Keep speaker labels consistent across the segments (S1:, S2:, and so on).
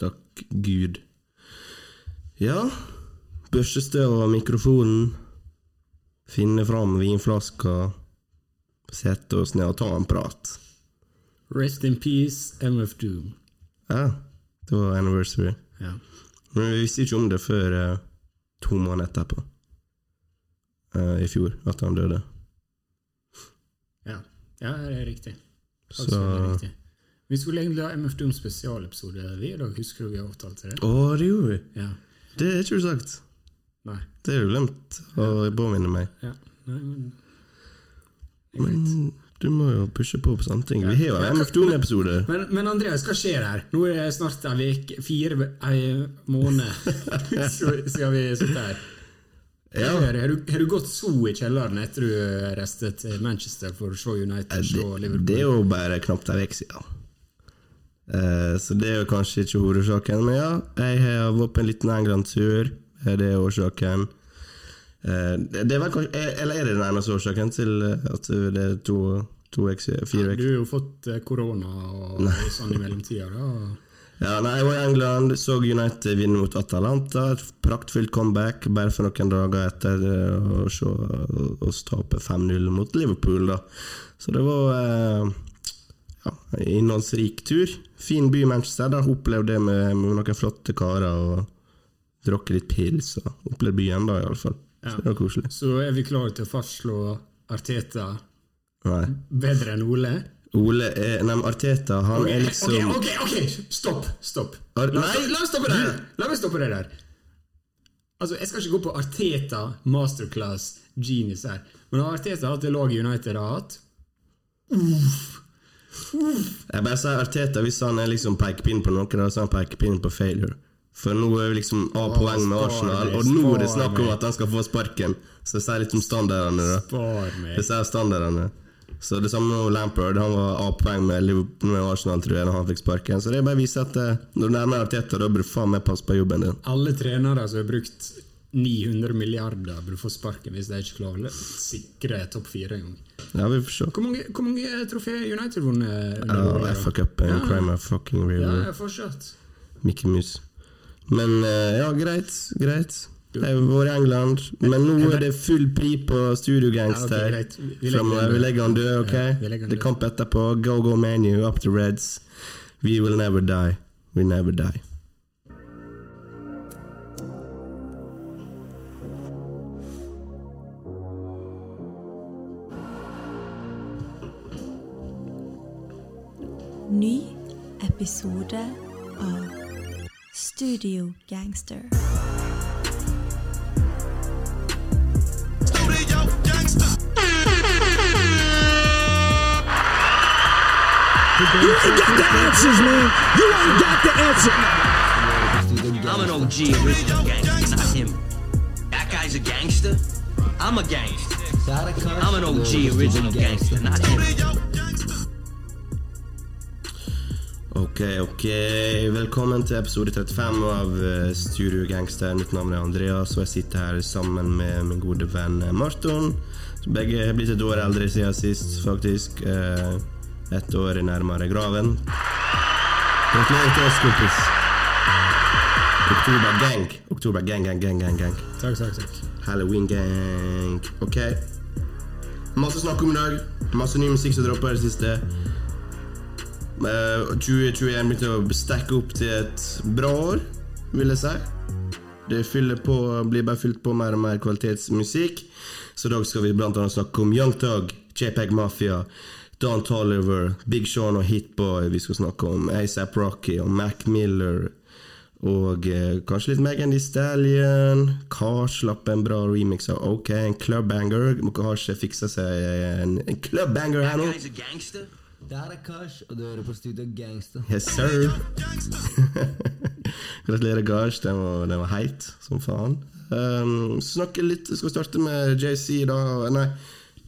S1: Takk Gud. Ja, børste støv av mikrofonen, finne fram vinflaska, sette oss ned og ta en prat.
S2: Rest in peace, MF Doom.
S1: Ja, det var anniversary.
S2: Ja.
S1: Men vi visste ikke om det før eh, to måneder etterpå. Eh, I fjor, at han døde.
S2: Ja, ja det er riktig.
S1: Så
S2: Faktisk er Altså, det riktig. Vi skulle egentlig ha MF Doom spesialepisode vi i dag. Husker du vi avtalte det?
S1: Å, det gjorde vi!
S2: Ja.
S1: Det er ikke du sagt.
S2: Nei.
S1: Det er jo glemt å påminne meg.
S2: Ja. Nei, men Det er greit.
S1: Men du må jo pushe på på sånne ting. Vi har
S2: Ja,
S1: jo
S2: men-
S1: MF Doom-episode.
S2: Men, men Andreas, hva skjer her? Nå er det snart en vek, fire ve- ei måned så skal vi sitte her.
S1: Ja.
S2: Hva skjer? Har, du, har du gått så i kjelleren etter du reiste til Manchester for å se United og
S1: Det,
S2: Liverpool?
S1: det er jo bare knapt en uke siden. Eh, så det er jo kanskje ikke hovedårsaken, men ja, jeg har vært på en liten England-tur. eh, Det er årsaken. Eh, det det er vel kanskje, eh, eller er det den eneste årsaken til eh, at det er to, to uker siden? Fire uker?
S2: Du har jo fått eh, korona og sånn i mellomtida. da. og-
S1: Ja, nei, jeg var i England, så United vinne mot Atalanta. Et praktfullt comeback bare for noen dager etter eh, å se oss tape 5-0 mot Liverpool, da. Så det var eh, ja, en innholdsrik tur. Fin by, Manchester. Da opplevde det med, med noen flotte karer og drakk litt pils og opplevde byen, da, iallfall.
S2: Ja.
S1: Så det var koselig.
S2: Så er vi klare til å fastslå Arteta
S1: Nei.
S2: bedre enn Ole?
S1: Ole er, nei, men Arteta, han er liksom
S2: Ok, ok, ok! Stopp! stopp.
S1: Ar-
S2: La,
S1: nei,
S2: la oss stoppe det der! La meg stoppe det der. Altså, Jeg skal ikke gå på Arteta masterclass genius her, men har Arteta hatt det laget United har hatt?
S1: Jeg bare sier Arteta hvis han er liksom pekepinn på noe, da, så er han pekepinn på failure. For nå er vi liksom av poeng med
S2: spar
S1: Arsenal,
S2: meg,
S1: og nå er det
S2: spar
S1: snakk om
S2: meg.
S1: at han skal få sparken. Så jeg sier litt om standardene, da.
S2: Spar meg.
S1: Jeg sier standardene. Så det samme med Lampard. Han var av poeng med, Liverpool- med Arsenal, tror jeg, da han fikk sparken. Så det er bare å vise at eh, når du nærmer deg Arteta, da burde du faen meg passe på jobben din.
S2: Alle trenere som har brukt 900 milliarder, burde få sparken hvis de ikke klarer å sikre topp fire engang.
S1: Ja, vi får se.
S2: Hvor mange, hvor mange trofeer United vunnet? under
S1: Ja,
S2: året, da?
S1: FA-cupen,
S2: Ja.
S1: eh, Crime of fucking
S2: Ja,
S1: River,
S2: ja, fortsatt.
S1: Mickey Mouse. Men eh, ja, greit. Greit. Jeg har vært i England, men nå er det full pri på Studio
S2: Ja, ok,
S1: Gangster.
S2: greit. Vi- vi legger
S1: Framover.
S2: den
S1: Vi
S2: død.
S1: legger han død, OK?
S2: Ja, vi legger han
S1: det er
S2: død.
S1: kamp etterpå. Go, go, menu. Up to Reds. We will never die. We never die.
S3: Ny episode av Studio Gangster.
S4: I'm an OG original gangster. Not him. That guy's a gangster. I'm a gangster. I'm an OG original gangster. Not him.
S1: Ok, ok. Velkommen til episode 35 av eh, Studio Gangster. Mitt navn er Andreas, og jeg sitter her sammen med min gode venn eh, Marton. Så Begge har blitt et år eldre siden sist, faktisk. Eh, Ett år nærmere graven. Gratulerer til oss, kompis. Oktober gang. Oktober gang, gang, gang, gang, gang.
S2: Takk, takk, takk.
S1: Halloween gang. Ok. Masse snakk om i dag. Masse ny musikk som dropper i det siste. Eh, 2021 begynte å stacke opp til et bra år, vil jeg si. Det fyller på, blir bare fylt på mer og mer kvalitetsmusikk. Så i dag skal vi blant annet snakke om Young Thug, JPEG Mafia, Don Tolliver, Big Sean og Hitboy. Vi skal snakke om ASAP Rocky og Mac Miller. Og eh, kanskje litt Megan Thee Stallion. Kar slapp en bra remix av OK, en clubbanger. Må kanskje fikse seg en, eh, en clubbanger
S4: That
S1: her nå.
S4: guy's a gangster.
S5: Det her er Kars, og du hører på Studio Gangsta.
S1: Yes, sir. Gratulerer, Gars. Den var, den var heit som faen. Um, snakke litt Skal vi starte med JC, da? Nei,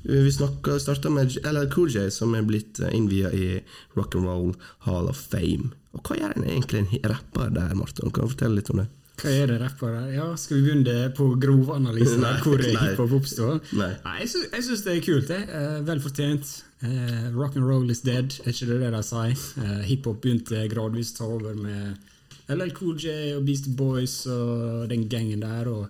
S1: vi snakker, starter med LL Cool J, som er blitt innvia i Rock and Roll Hall of Fame. Og Hva gjør en egentlig en rapper der, Marton? Kan du fortelle litt om det?
S2: Hva er det rappere? Ja, Skal vi begynne på grovanalysen
S1: Nei,
S2: av hvor
S1: nei.
S2: hiphop oppstår?
S1: Nei.
S2: jeg, sy jeg syns det er kult. det. Eh, Vel fortjent. Eh, rock and roll is dead, er ikke det det de sier? Eh, hiphop begynte gradvis å ta over med LL Cool J og Beast Boys og den gangen der. og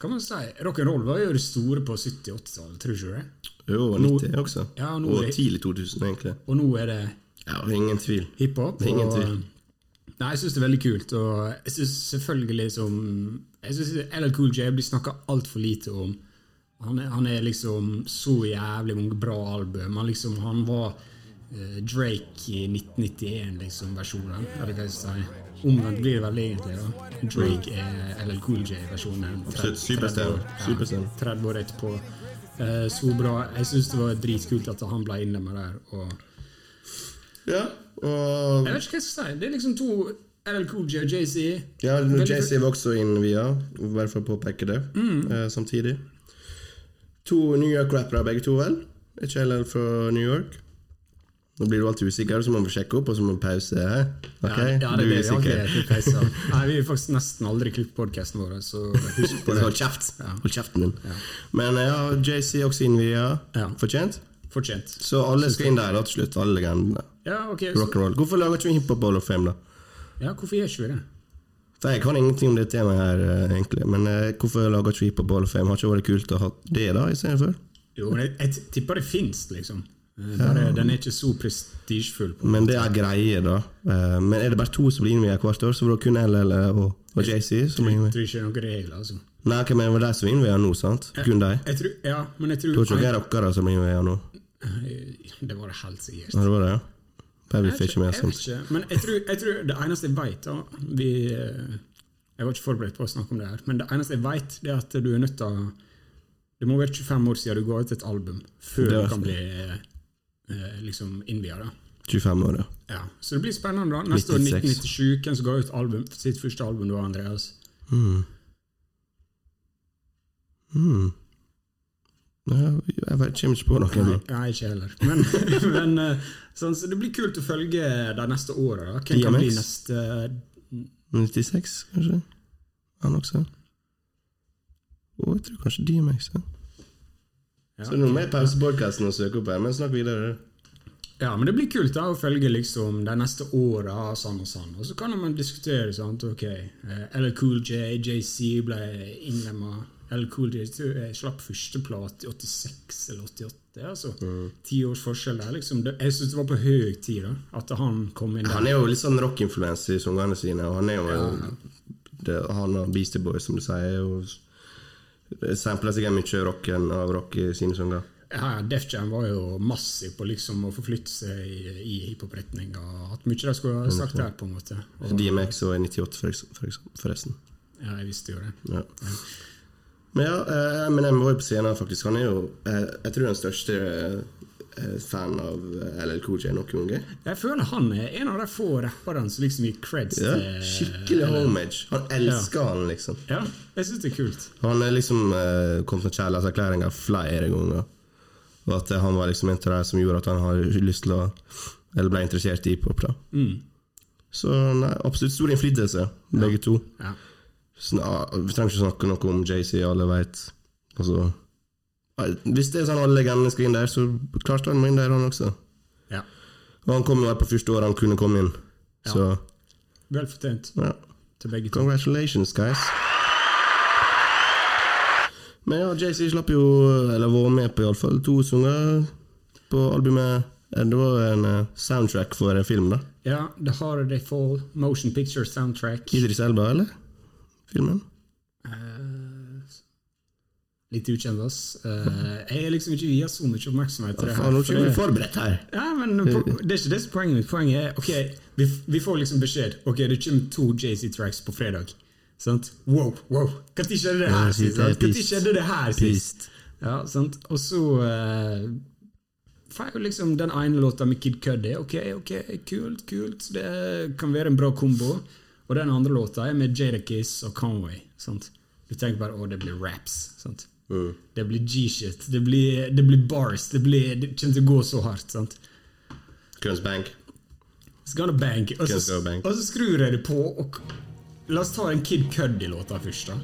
S2: kan man si, Rock'n'roll var jo det store på 70-80-tallet, tror du ikke det?
S1: Jo,
S2: Nå-
S1: 90 også.
S2: Ja, nå
S1: og
S2: er-
S1: tidlig 2000, egentlig.
S2: Og nå er det
S1: Ja, ingen tvil.
S2: hiphop.
S1: Det er ingen
S2: og-
S1: tvil.
S2: Nei, jeg syns det er veldig kult, og jeg syns selvfølgelig som Jeg syns LL Cool J blir snakka altfor lite om. Han er, han er liksom så jævlig mange bra album. Han, liksom, han var eh, Drake i liksom, 1991-versjonen. eller hva jeg skal si. Omvendt blir det vel egentlig. da. Drake er LL Cool J-versjonen.
S1: Mm. Absolutt, superstjerne. Superstjerne.
S2: 30 år etterpå. Eh, så bra. Jeg syns det var dritkult at han ble innlemma der. og...
S1: Ja, og
S2: Jeg vet ikke hva jeg skal si. Det er liksom to LL Cool J og Jay-Z.
S1: ja,
S2: Veldig-
S1: Jay-Z var også inn via, i hvert fall påpeke det,
S2: Mm.
S1: eh, samtidig. To New York-rappere begge to, vel? Ikke LL fra New York. Nå blir du alltid usikker, så må vi sjekke opp, og så må vi pause her. Ok?
S2: Ja, ja, det
S1: du
S2: er
S1: er
S2: det vi alltid
S1: usikker.
S2: er til pause av. Nei, vi har faktisk nesten aldri klippet podcasten vår, så husk på det.
S1: Hold kjeft! Hold kjeften din. Men eh, ja, Jay-Z også inn via.
S2: Ja.
S1: Fortjent?
S2: Fortjent.
S1: Så alle skal inn der da til slutt, alle legendene.
S2: Ja, ok. Så,
S1: Rock'n'roll. Hvorfor lager ikke vi hiphop Hall of Fame, da?
S2: ja, hvorfor gjør ikke vi det?
S1: For Jeg kan ingenting om det temaet her, eh, egentlig. Men eh, hvorfor lager ikke vi hiphop Hall of Fame? Har ikke vært kult å ha det da, i stedet for?
S2: Jo, men jeg, jeg tipper det finnes, liksom. Eh, Bare, Den er ikke så prestisjefull. på-
S1: Men det er greie, da. Eh, Men er det bare to som blir innviet hvert år, så var det kun LL og, og JC som blir
S2: Jeg
S1: innviet?
S2: tror ikke det er noen regler, altså.
S1: Nei, ok, men det var de som innviet nå, sant? Kun de?
S2: Jeg tror, ja, men jeg tror...
S1: Det var ikke noen rockere som blir innviet nå?
S2: Eh, Det var det helt sikkert.
S1: Ja, det var det, ja? Bare vi
S2: Jeg
S1: fikk
S2: vet
S1: ikke sånn. med
S2: ikke,
S1: oss
S2: jeg vet ikke. Men jeg tror, jeg tror det eneste jeg vet da, vi, eh, Jeg var ikke forberedt på å snakke om det her, men det eneste jeg vet, det er at du er nødt til å Det må være 25 år siden du ga ut et album, før
S1: Det
S2: du
S1: vet jeg.
S2: kan bli eh, liksom innvia. da.
S1: 25 år, ja.
S2: Ja. Så det blir spennende. da. Neste år
S1: 96.
S2: 1997, hvem som ga ut album, sitt første album da, Andreas?
S1: Mm. Mm. Ja, jeg vet, kommer ikke på noe.
S2: Nei,
S1: nå.
S2: nei, ikke heller. Men, men eh, sånn, så det blir kult å følge de neste åra. Hvem kan
S1: DMX?
S2: bli neste
S1: 96, kanskje? Han også? Å, jeg tror kanskje DMX. Ja.
S2: ja.
S1: Så nå må jeg pause podkasten og søke opp her, men snakk videre.
S2: Ja, men det blir kult da å følge liksom de neste åra sånn og sånn. Og så kan man diskutere sant, ok, eh, LL Cool J, JC ble innlemma. LL Cool J tror jeg slapp første plat i 86 eller 88. altså. Ti års forskjell der, liksom. Det, jeg syns det var på høy tid da, at han kom inn
S1: Han
S2: der.
S1: er jo litt sånn rockinfluens i sangene sine, og han er jo det, Han og Beastie Boys, som du sier, og sampler sikkert mye rocken av rock i sine sanger.
S2: Ja, Def Jam var jo massiv på liksom å forflytte seg i, i hiphop-retning. og Hatt mye de skulle ha sagt der, på en måte. Og,
S1: DMX og 98, for eks- for eks- forresten.
S2: ja, jeg visste jo det.
S1: Ja. Men ja, eh, Eminem var jo på scenen, faktisk. Han er jo, eh, jeg tror, den største eh, fan av eh, LL Cool J noen gang.
S2: Jeg føler han er en av de få rapperne som liksom gir creds
S1: Ja,
S2: til
S1: skikkelig homage. Han elsker han, liksom.
S2: Ja, jeg syns det er kult.
S1: Han er liksom eh, kommet med kjærlighetserklæringer flere ganger. Og at eh, han var liksom en av de som gjorde at han har lyst til å Eller ble interessert i hiphop. da Så nei, absolutt stor innflytelse, begge to.
S2: Ja.
S1: Så, ja, vi trenger ikke snakke noe om JC, alle veit. Altså ja, Hvis det er sånn alle legendene skal inn der, så klarte han må inn der, han også.
S2: ja.
S1: Og han kom jo her på første året han kunne komme inn. Så
S2: Vel fortjent
S1: ja.
S2: til begge to.
S1: Congratulations, guys. Men ja, JC slapp jo, eller var med på iallfall, to sanger på albumet. Eh, Det var en eh, soundtrack for en film, da.
S2: Ja, The Harder They Fall, Motion Picture Soundtrack.
S1: Idris Elba, eller? Filmen?
S2: Eh, litt ukjent, ass. Eh, jeg er liksom ikke via så mye oppmerksomhet til det
S1: Faen,
S2: her.
S1: nå
S2: for
S1: er vi
S2: det-
S1: forberedt her!
S2: Ja, men po- det er ikke det som er poenget mitt. Poenget er ok, vi, f- vi får liksom beskjed. Ok, det kommer to JC-tracks på fredag. Sant? Wow, wow! Når skjedde det her sist? sant? Når skjedde det her sist? Ja, sant? Og så uh, får jeg liksom den ene låta med Kid Cudi. Ok, ok, kult, kult. Det kan være en bra kombo. Og den andre låta er med Jadakiss og Conway. Sant? Du tenker bare å, det blir raps. Sant? Det blir G-shit. Det, blir- det blir bars. Det, blir, det kommer til å gå så hardt. sant?
S1: Guns Bank.
S2: It's gonna bank. Og
S1: It's
S2: så,
S1: gonna bank.
S2: og så skrur jeg det på, og la oss ta den Kid Cuddy-låta først, da.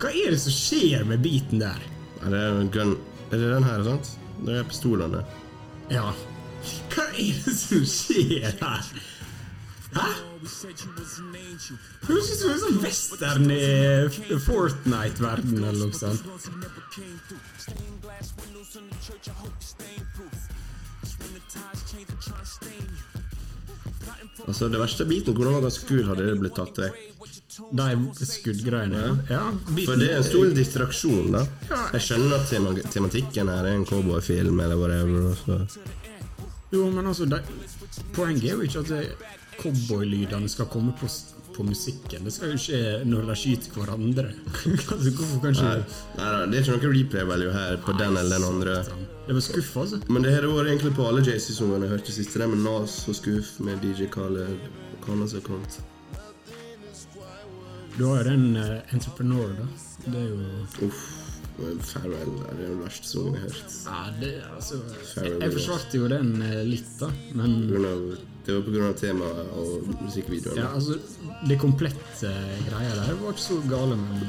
S2: Hva er det som skjer med beaten der?
S1: Ja, det er, jo en gun. er det den her, sant? Det er pistolene.
S2: Ja. Hva er det som skjer her? Hæ? Det høres ut som en sånn western i Fortnite-verdenen eller noe sånt.
S1: Altså, det verste biten kunne vært ganske kul hadde det blitt tatt vekk.
S2: De skuddgreiene. Ja,
S1: For det er en stor distraksjon, da. Jeg skjønner at tema tematikken her er en cowboyfilm eller whatever. og Så.
S2: Jo, men altså, de, poenget er jo ikke at det- cowboylydene skal komme på, s- på musikken. Det skal jo skje når de skyter hverandre. altså, hvorfor kanskje
S1: Nei, nei, da, det er ikke noe replay value her på den eller den andre.
S2: Jeg var skuffa, altså.
S1: Men det har det vært egentlig på alle JC-sangene jeg hørte sist. Det der med Nas og Skuff med DJ Khaled og hva annet som har kommet.
S2: Du har jo den eh, Entrepreneur, da. Det er jo
S1: Uff. men Farewell er den verste sangen jeg har hørt.
S2: Ja, det er altså
S1: Fair
S2: Jeg, jeg forsvarte jo den eh, litt, da. Men
S1: På grunn av- Det var pga. temaet og musikkvideoen.
S2: ja, altså, det komplette eh, greia der var ikke så gale, men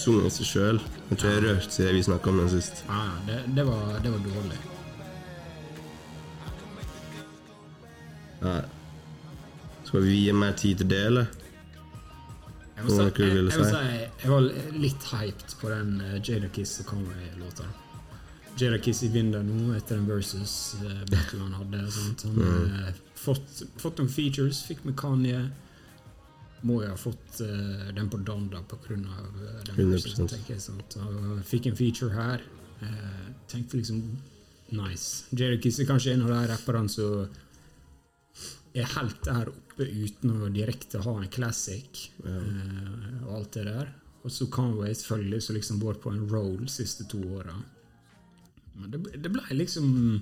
S1: Sangen i seg sjøl. Har ikke jeg rørt siden vi snakka om den sist.
S2: ja, ja, det, det, var, det var dårlig.
S1: Nei. Skal vi gi mer tid til det, eller?
S2: Jeg må si,
S1: Hva
S2: jeg,
S1: ville du
S2: jeg, må
S1: si?
S2: si, jeg var litt hyped på den uh, Jada Kiss og Conway-låta. Jada Kiss i vinden nå etter den versus uh, battle han hadde. og Sånt. Han
S1: Mm.
S2: eh, fått, fått noen features, fikk med Kanye. Må jo ha fått eh, den på Donda på grunn av eh, den
S1: 100%.
S2: versen, tenker jeg. Sant? Og fikk en feature her. Eh, tenkte liksom nice. Jada Kiss er kanskje en av de rapperne som er helt der oppe uten å direkte ha en classic eh, og alt det der. Og så Conway selvfølgelig som liksom vært på en roll de siste to åra. Men det, det blei liksom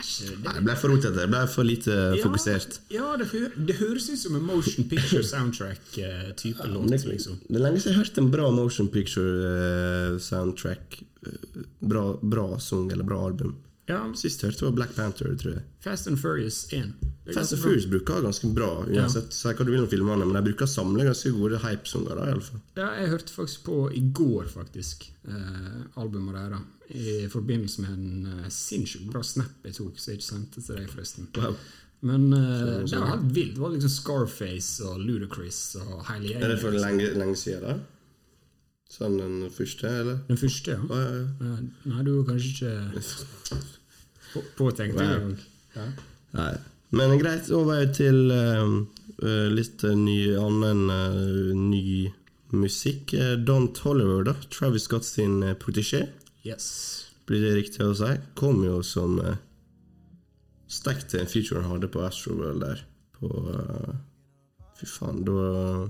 S2: Æsj.
S1: Nei,
S2: det-
S1: Jeg ble for rotete. Jeg ble for lite fokusert.
S2: Ja, det, hø det høres ut som en motion picture soundtrack-type låt, liksom.
S1: Det er lenge siden jeg har hørt en bra motion picture eh, soundtrack. eh, Bra, bra sang eller bra album.
S2: Ja,
S1: Sist jeg hørte var Black Panther, tror jeg.
S2: Fast and Furious 1. Det er
S1: Fast
S2: ganske
S1: and
S2: bra.
S1: Furious bruker ganske bra, uansett si hva du vil om filmene, men de bruker å samle ganske gode hypesanger, da, iallfall.
S2: Ja, jeg hørte faktisk på i går, faktisk, eh, albumet deres. I forbindelse med en eh, sinnssykt bra snap jeg tok, så jeg ikke sendte til deg, forresten.
S1: Wow.
S2: Men eh, det
S1: sånn.
S2: var helt vilt. Det var liksom Scarface og Ludacris og hele
S1: Er det for
S2: gjengen.
S1: lenge, lenge siden, da? Sånn den første, eller?
S2: Den første, ja.
S1: Ja, ja, ja.
S2: Eh, Nei, du var kanskje ikke på- påtenkt
S1: Wow.
S2: engang. Ja.
S1: Nei. Men greit, over til eh, eh, litt eh, ny annen eh, ny musikk. Eh, Don Tolliver, da. Travis Scott sin uh, protégé,
S2: Yes.
S1: blir det riktig å si. Kom jo som uh, stekk til en feature han hadde på Astroworld der. På eh, Fy faen, da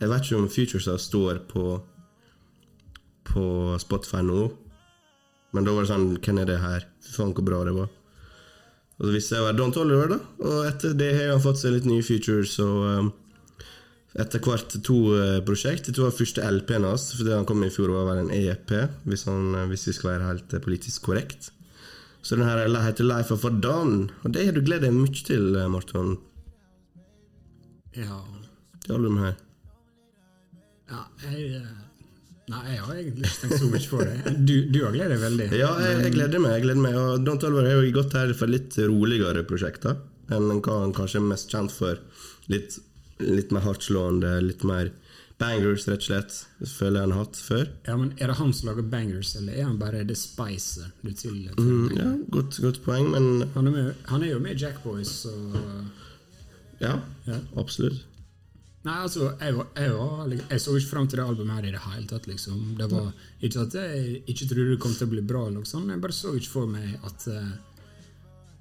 S1: Jeg vet ikke om featuresa står på På Spotify nå, men da var det sånn Hvem er det her? Fy faen, hvor bra det var. Og så visste jeg hva Don Toliver, da. Og etter det har han fått seg litt nye features og um, etter hvert to eh, prosjekt. Dette var første LP-en hans, for det han kom med i fjor, var vel en EP, hvis, han, eh, hvis vi skal være helt eh, politisk korrekt. Så den her heter Life of a Don, og det har du gledet deg mye til, eh, Morten.
S2: Ja.
S1: Det albumet her.
S2: ja jeg, eh, nei, jeg har egentlig ikke tenkt så mye på det. Du, du har gledet deg veldig.
S1: Ja, jeg, jeg gleder meg. jeg gleder meg Og Don Tolver er jo gått her for litt roligere prosjekter enn hva han kanskje er mest kjent for. Litt, litt mer hardtslående, litt mer bangers, rett og slett. Det føler jeg han har hatt før.
S2: Ja, men Er det han som lager bangers, eller er han bare The Spicer? Du til,
S1: Mm, ja, godt, godt poeng, men
S2: han, er med, han er jo med i Jack Boys, så
S1: ja,
S2: Ja.
S1: absolutt.
S2: Nei, altså, jeg, var, jeg, var, liksom- jeg så ikke fram til det albumet her i det hele tatt, liksom. Det var ikke at jeg ikke trodde det kom til å bli bra, eller noe sånt, jeg bare så ikke for meg at eh,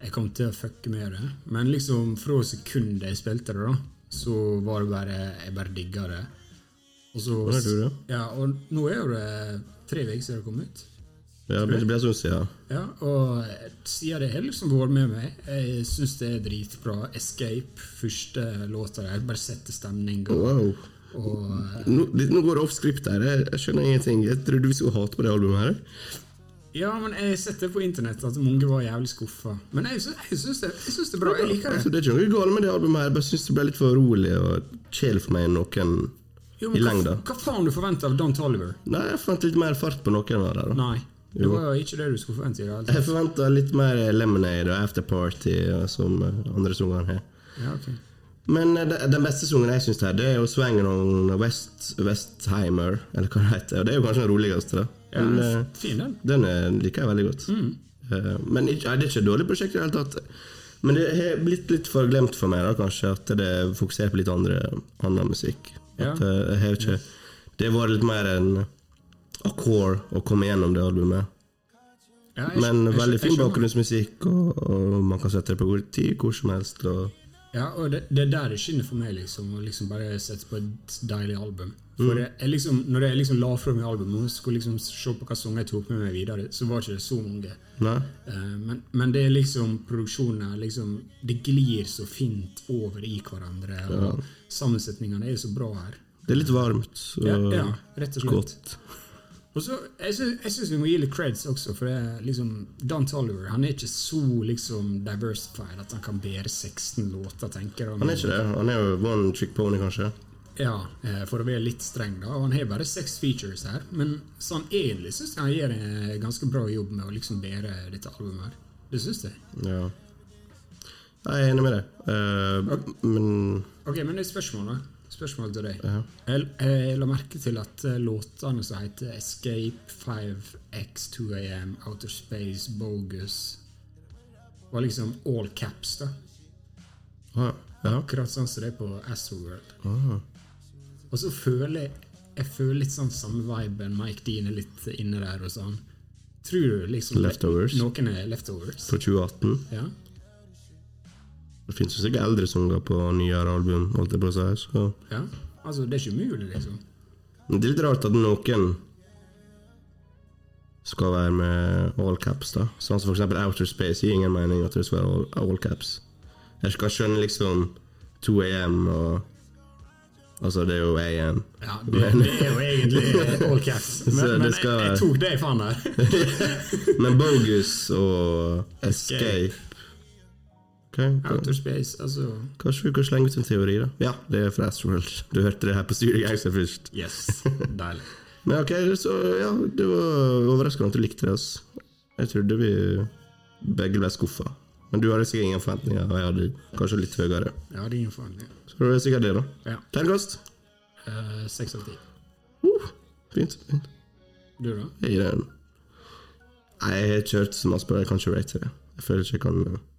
S2: jeg kom til å fucke med det. Men liksom, fra sekundet jeg spilte det, da, så var det bare Jeg bare digga det. Og så
S1: Hva er det,
S2: Ja, og nå er jo det tre uker siden det kom ut.
S1: Ja, men det blir sånn, ja.
S2: Ja, og siden det har liksom vært med meg. Jeg syns det er dritbra. 'Escape', første låta der, bare setter stemninga.
S1: Wow.
S2: Og
S1: Nå, det, nå går det off script her. Jeg, jeg skjønner ingenting. Jeg trodde vi skulle hate på det albumet her.
S2: Ja, men jeg har sett det på internett at mange var jævlig skuffa. Men jeg syns, jeg syns det, jeg syns det er bra. Jeg liker
S1: Altså,
S2: det.
S1: det er ikke noe galt med det albumet her, jeg bare syns det ble litt for rolig og kjedelig for meg enn noen
S2: Jo,
S1: i
S2: men hva,
S1: lengda.
S2: hva faen du forventer av Don Tolliver?
S1: Nei, jeg fant litt mer fart på noen av dem. da.
S2: Nei, det var jo ikke det du skulle forvente. i det hele tatt.
S1: Jeg forventa litt mer Lemonade og After Party og som eh, andre sangene eh, har.
S2: Ja, ok.
S1: Men eh, de- den beste sangen jeg syns her, det er jo swangen om West, Westheimer, eller hva det heter. Og det er jo kanskje den roligste, da. Men, eh,
S2: Fin den.
S1: Den eh, liker jeg veldig godt.
S2: Mm.
S1: Eh, Men ikke, ja, det er ikke et dårlig prosjekt i det hele tatt. Men det har blitt litt for glemt for meg, da, kanskje, at det fokuserer på litt andre, annen musikk.
S2: Ja.
S1: At eh, jeg har ikke Det var litt mer en akkord å komme gjennom det albumet.
S2: Ja, jeg skj-
S1: Men
S2: jeg skj-
S1: veldig
S2: jeg
S1: fin
S2: skjønner.
S1: bakgrunnsmusikk, og, og man kan sette det på god tid hvor som helst. Og
S2: Ja, og det, det er der det skinner for meg, liksom. Å liksom bare sette på et deilig album.
S1: Mm.
S2: For det er liksom, når jeg liksom la fra meg albumet og skulle liksom se på hva sanger jeg tok med meg videre, så var ikke det så mange.
S1: nei,
S2: Eh, Men, men det er liksom produksjoner liksom, Det glir så fint over i hverandre. Og Sammensetningene er jo så bra her.
S1: det er litt varmt og
S2: Ja, ja, rett og slett.
S1: godt.
S2: Og så, Jeg syns jeg syns vi må gi litt creds også, for det, er liksom, Dan Tolliver han er ikke så liksom diversified at han kan bære 16 låter, tenker jeg.
S1: Han er ikke det. Han er jo one trick pony, kanskje.
S2: Ja, eh, for å være litt streng, da. Og han har bare seks features her. Men sånn egentlig syns jeg han gjør en ganske bra jobb med å liksom bære dette albumet. her. Det syns jeg.
S1: Ja. Jeg er enig med deg. Eh, Men
S2: Ok, men det er spørsmål, da. Spørsmål til deg. Jeg, jeg la merke til at eh, låtene som heter Escape 5, X 2AM, Outer Space, Bogus var liksom all caps, da.
S1: ah, ja.
S2: Akkurat sånn som det er på Astroworld. Og så føler jeg Jeg føler litt sånn samme viben. Mike Dean er litt inne der og sånn. Tror du liksom
S1: Leftovers.
S2: Noen er leftovers.
S1: Fra 2018.
S2: Ja.
S1: Det fins jo sikkert eldre sanger på nyere album. holdt jeg på å si. Så.
S2: ja. Altså, det er ikke umulig, liksom.
S1: Men det er litt rart at noen skal være med all caps. da. Sånn som for eksempel Outer Space gir ingen mening at det skal være all, all caps. Jeg skal skjønne liksom 2 AM og Altså, det er jo AM.
S2: Ja, det, det er jo egentlig all caps.
S1: Så
S2: Men,
S1: det
S2: men jeg,
S1: skal være-
S2: jeg tok det i faen der.
S1: Men Bogus og Escape Ok, hva-
S2: Outer Space, altså
S1: Kanskje vi kan slenge ut en teori, da. Ja, det er fra Astroworld. Du hørte det her på Studio Gangster først.
S2: Yes. Deilig.
S1: Men ok, så ja, det var overraskende at du likte det. ass. Jeg trodde vi begge ble skuffa. Men du hadde sikkert ingen forventninger, og jeg hadde kanskje litt høyere.
S2: Jeg hadde ingen forhandlinger.
S1: Så det var sikkert det, da.
S2: Ja.
S1: Terningkast? Uh,
S2: eh, Seks av ti.
S1: Fint. fint.
S2: Du, da?
S1: Jeg gir det en Nei, jeg har ikke hørt så mye på det, jeg kan ikke rate det. Jeg føler ikke jeg kan eh,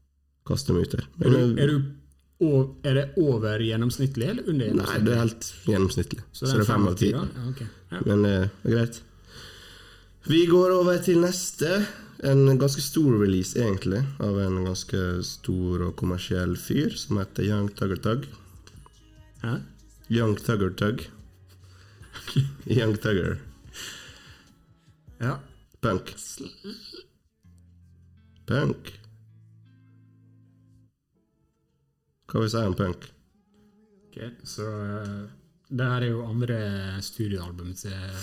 S1: kaste meg ut der. Men,
S2: Er, du, o- er det over gjennomsnittlig eller under
S1: eh, nei,
S2: gjennomsnittlig?
S1: det er helt gjennomsnittlig. Så det
S2: en
S1: er fem av ti.
S2: da? Ja, ok. Ja.
S1: Men eh, det er greit. Vi går over til neste. En ganske stor release, egentlig, av en ganske stor og kommersiell fyr som heter Young Tugger Tug.
S2: Hæ?
S1: Young Tugger Tug. Young Tugger.
S2: Ja.
S1: Punk. Punk. Hva vil vi si om punk?
S2: Ok, så eh, det her er jo andre studioalbum til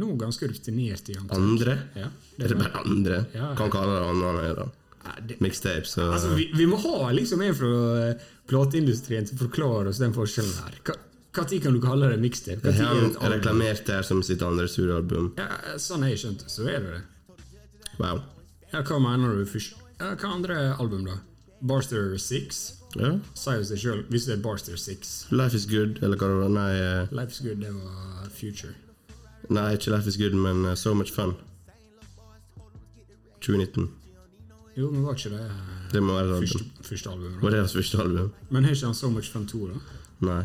S2: nå ganske rutinert i antall.
S1: Andre?
S2: Ja, det
S1: Er det bare andre?
S2: Ja.
S1: Kan kalle det andre enn jeg da.
S2: Nei, det-
S1: Mixtapes og
S2: Altså, vi, vi må ha liksom en fra eh, plateindustrien til å forklare oss den forskjellen her. Når kan du kalle det mixtape? Hva tid er det
S1: Han
S2: et album?
S1: reklamerte det her som sitt andre studioalbum.
S2: Ja, sånn har jeg skjønt det, så er det det.
S1: Wow.
S2: Ja, hva mener du først? Ja, hva andre album, da? Barster 6?
S1: Ja.
S2: Sa jo seg sjøl, hvis det er Barster 6.
S1: Life is good, eller hva det var. Nei, eh,
S2: Life's Good, det var Future.
S1: nei, ikke Life is good, men eh, So Much Fun. 2019.
S2: Jo, men var ikke det eh,
S1: Det må være et
S2: første,
S1: album.
S2: første albumet?
S1: Var det hans første album?
S2: Men har ikke han So Much Fun 2, da?
S1: Nei.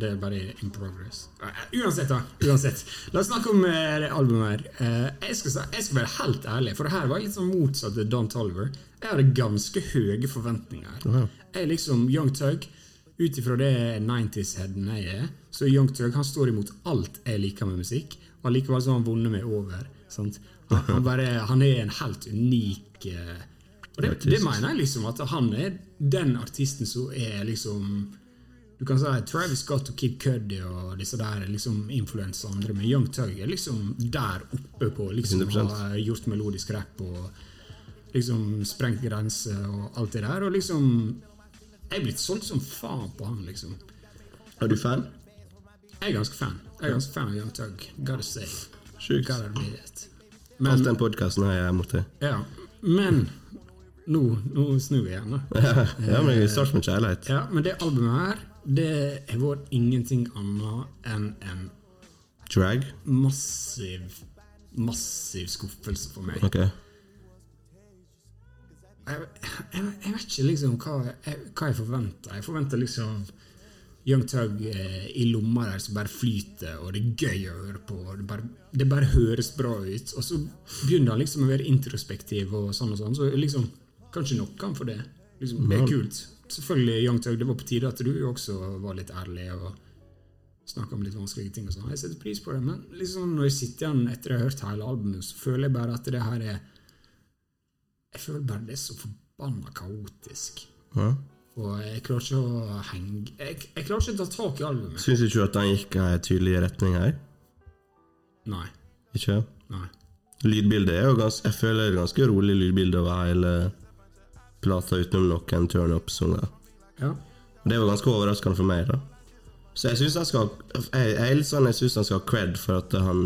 S2: Det er bare In Progress. Eh, Uansett, da. Uansett. La oss snakke om eh, det albumet her. Eh, jeg, skal, si- jeg skal være helt ærlig, for det her var litt sånn motsatt av Don Tolliver. Jeg hadde ganske høye forventninger. Jeg er liksom Young Tug. Ut ifra det 90s-headen jeg er, så Young Tug han står imot alt jeg liker med musikk. Og allikevel så har han vunnet meg over. Sant? Han, han, bare, han er en helt unik eh, Og det, det
S1: Artist.
S2: mener jeg liksom, at han er den artisten som er liksom du kan si Travis Scott og Kid Cudi og disse der er liksom influensa andre, men Young Thug er liksom der oppe på liksom
S1: 100%.
S2: har gjort melodisk rap og liksom sprengt grenser og alt det der. Og liksom Jeg er blitt solgt som faen på han, liksom.
S1: Er du fan?
S2: Jeg er ganske fan. Jeg er ganske fan av Young Thug. Gotta say.
S1: Sjukt.
S2: Gotta admit it.
S1: Alt
S2: Men,
S1: den podkasten har jeg mot deg.
S2: ja, men nå, nå snur vi igjen. da.
S1: ja, men det starter med kjærlighet.
S2: Ja, men det albumet her, det har vært ingenting annet enn en
S1: Drag.
S2: massiv, massiv skuffelse for meg.
S1: Ok.
S2: Jeg, jeg, jeg vet ikke liksom hva jeg, hva jeg forventer. Jeg forventer liksom Young Tug eh, i lomma der som bare flyter, og det er gøy å høre på. og Det bare, det bare høres bra ut. Og så begynner han liksom å være introspektiv og sånn og sånn. Så liksom, kanskje nok han for det. Liksom, det er kult. Selvfølgelig, Young Tug, det var på tide at du også var litt ærlig og snakka om litt vanskelige ting og sånn. Jeg setter pris på det, men liksom når jeg sitter igjen etter å ha hørt hele albumet, så føler jeg bare at det her er jeg føler bare det er så forbanna kaotisk.
S1: Ja.
S2: Og jeg klarer ikke å henge Jeg, jeg klarer ikke å ta tak i albumet.
S1: Syns ikke du at han gikk i en tydelig retning her?
S2: Nei.
S1: Ikke?
S2: nei.
S1: Lydbildet er jo ganske Jeg føler det er ganske rolig lydbilde over hele plata, utenom noen turnup-sanger.
S2: Ja.
S1: Det var ganske overraskende for meg, da. Så jeg syns han skal Jeg, jeg er litt sånn, jeg synes han skal ha cred for at han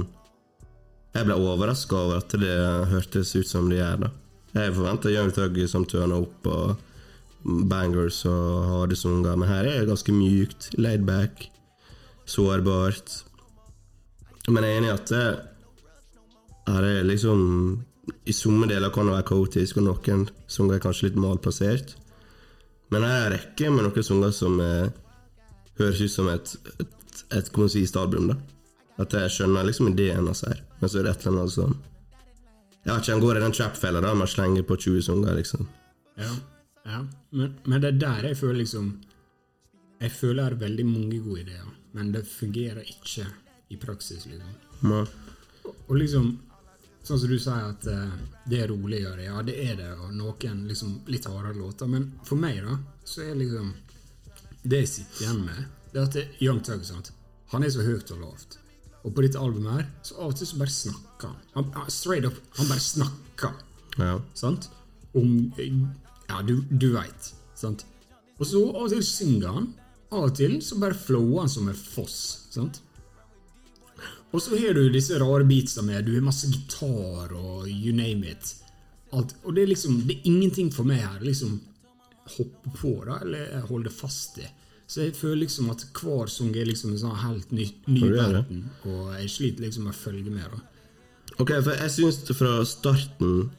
S1: Jeg ble overraska over at det hørtes ut som det gjør, da. Jeg forventa Young Thug som tørna opp og bangers og harde sanger, men her er det ganske mjukt, laid back, sårbart. Men jeg er enig i at det, her er liksom I somme deler kan det være kaotisk, og noen sanger er kanskje litt malplassert. Men her er en rekke med noen sanger som eh, høres ut som et, et, et konsist album. da. At jeg skjønner liksom ideen hans her, men så er det et eller annet som Jeg vet ikke, han går i den trap-fella der man slenger på 20 sanger, liksom.
S2: ja. ja. Men, men det er der jeg føler liksom Jeg føler jeg har veldig mange gode ideer, men det fungerer ikke i praksis, liksom.
S1: Men,
S2: Og liksom Sånn som du sier at eh, det er roligere, ja det er det, og noen liksom litt hardere låter, men for meg, da, så er liksom Det jeg sitter igjen med, det er at det, Young Thug sant? han er så høyt og lavt. Og på dette albumet her, så av og til så bare snakker han. han. han- Straight up, han bare snakker.
S1: ja.
S2: Sant? Om Ja, du, du veit. Sant? Og så av og til synger han. Av og til så bare flower han som en foss. Sant? Og så har du disse rare beatsa med Du har masse gitar og you name it. Alt, og det er liksom Det er ingenting for meg her. Liksom hoppe på da, eller holde fast i. Så jeg føler liksom at hver sang er liksom en sånn helt ny, ny
S1: Ja, det er det.
S2: verden. Og jeg sliter liksom med å følge med. da
S1: Ok, for jeg syns fra starten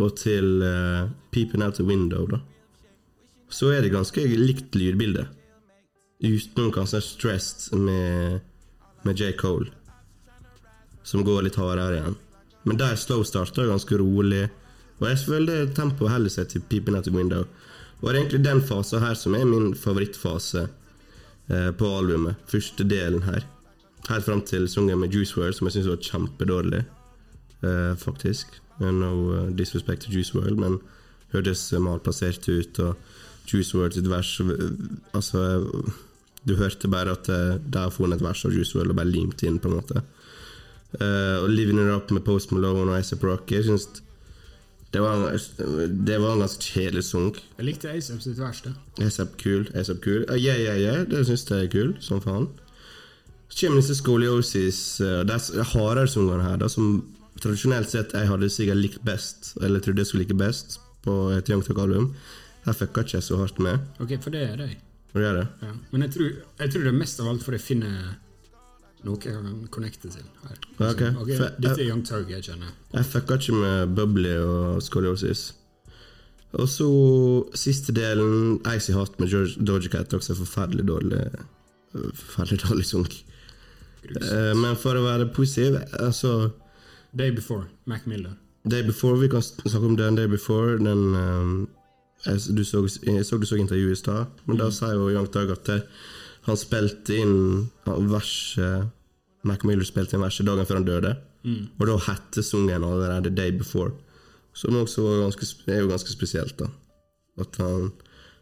S1: og til eh, Peeping Out the Window, da, så er det ganske likt lydbilde. Utenom kanskje Stressed med, med J. Cole, som går litt hardere igjen. Men der slow starter ganske rolig, og jeg føler tempoet holder seg til Peeping Out the Window. Og det er egentlig den fasen her som er min favorittfase eh, på albumet. Første delen her. Helt fram til sangen med Juice WRLD, som jeg syns var kjempedårlig. Eh, faktisk. Eh, No eh, disrespect to Juice World, men hørtes eh, malplassert ut. Og Juice World sitt vers eh, Altså, eh, du hørte bare at eh, der har funnet et vers av Juice World og bare limt inn, på en måte. Eh, og Living It Up med Post Malone og Isaac Rock Jeg syns det var, en- det var en ganske kjedelig sang.
S2: Jeg likte Asap sitt verste.
S1: ASAP kul, ASAP kul. Ja, ja, ja, ja, det syns jeg er kul, som faen. Så kommer disse skoliosis, eh, de s- hardere sangene her, da, som tradisjonelt sett jeg hadde sikkert likt best, eller trodde jeg skulle like best, på et Young Talk-album. Her fucka ikke jeg så hardt med.
S2: Ok, for det er deg.
S1: Og det er det.
S2: Ja. Men jeg tror, jeg tror det er mest av alt for å finne noe jeg kan connecte til her.
S1: Ja, ok.
S2: Så, ok,
S1: For-
S2: dette er Young Tug jeg kjenner.
S1: Jeg fucka ikke med Bubbly og skoliosis. Og så siste delen, Icy Hot med George- Doja Cat, også forferdelig dårlig eh, Forferdelig dårlig sang.
S2: Grus.
S1: Eh, Men for å være positiv, altså
S2: Day Before, Mac Miller.
S1: Day Before, vi kan snakke om den Day Before. Den, ehm, jeg, du så, jeg så du så intervjuet i stad, men da sa jo Young Thug at det, han spilte inn han- verset Mac Miller spilte inn verset dagen før han døde, og da hette sangen allerede Day Before. Som også var ganske, sp- er jo ganske spesielt, da. At han,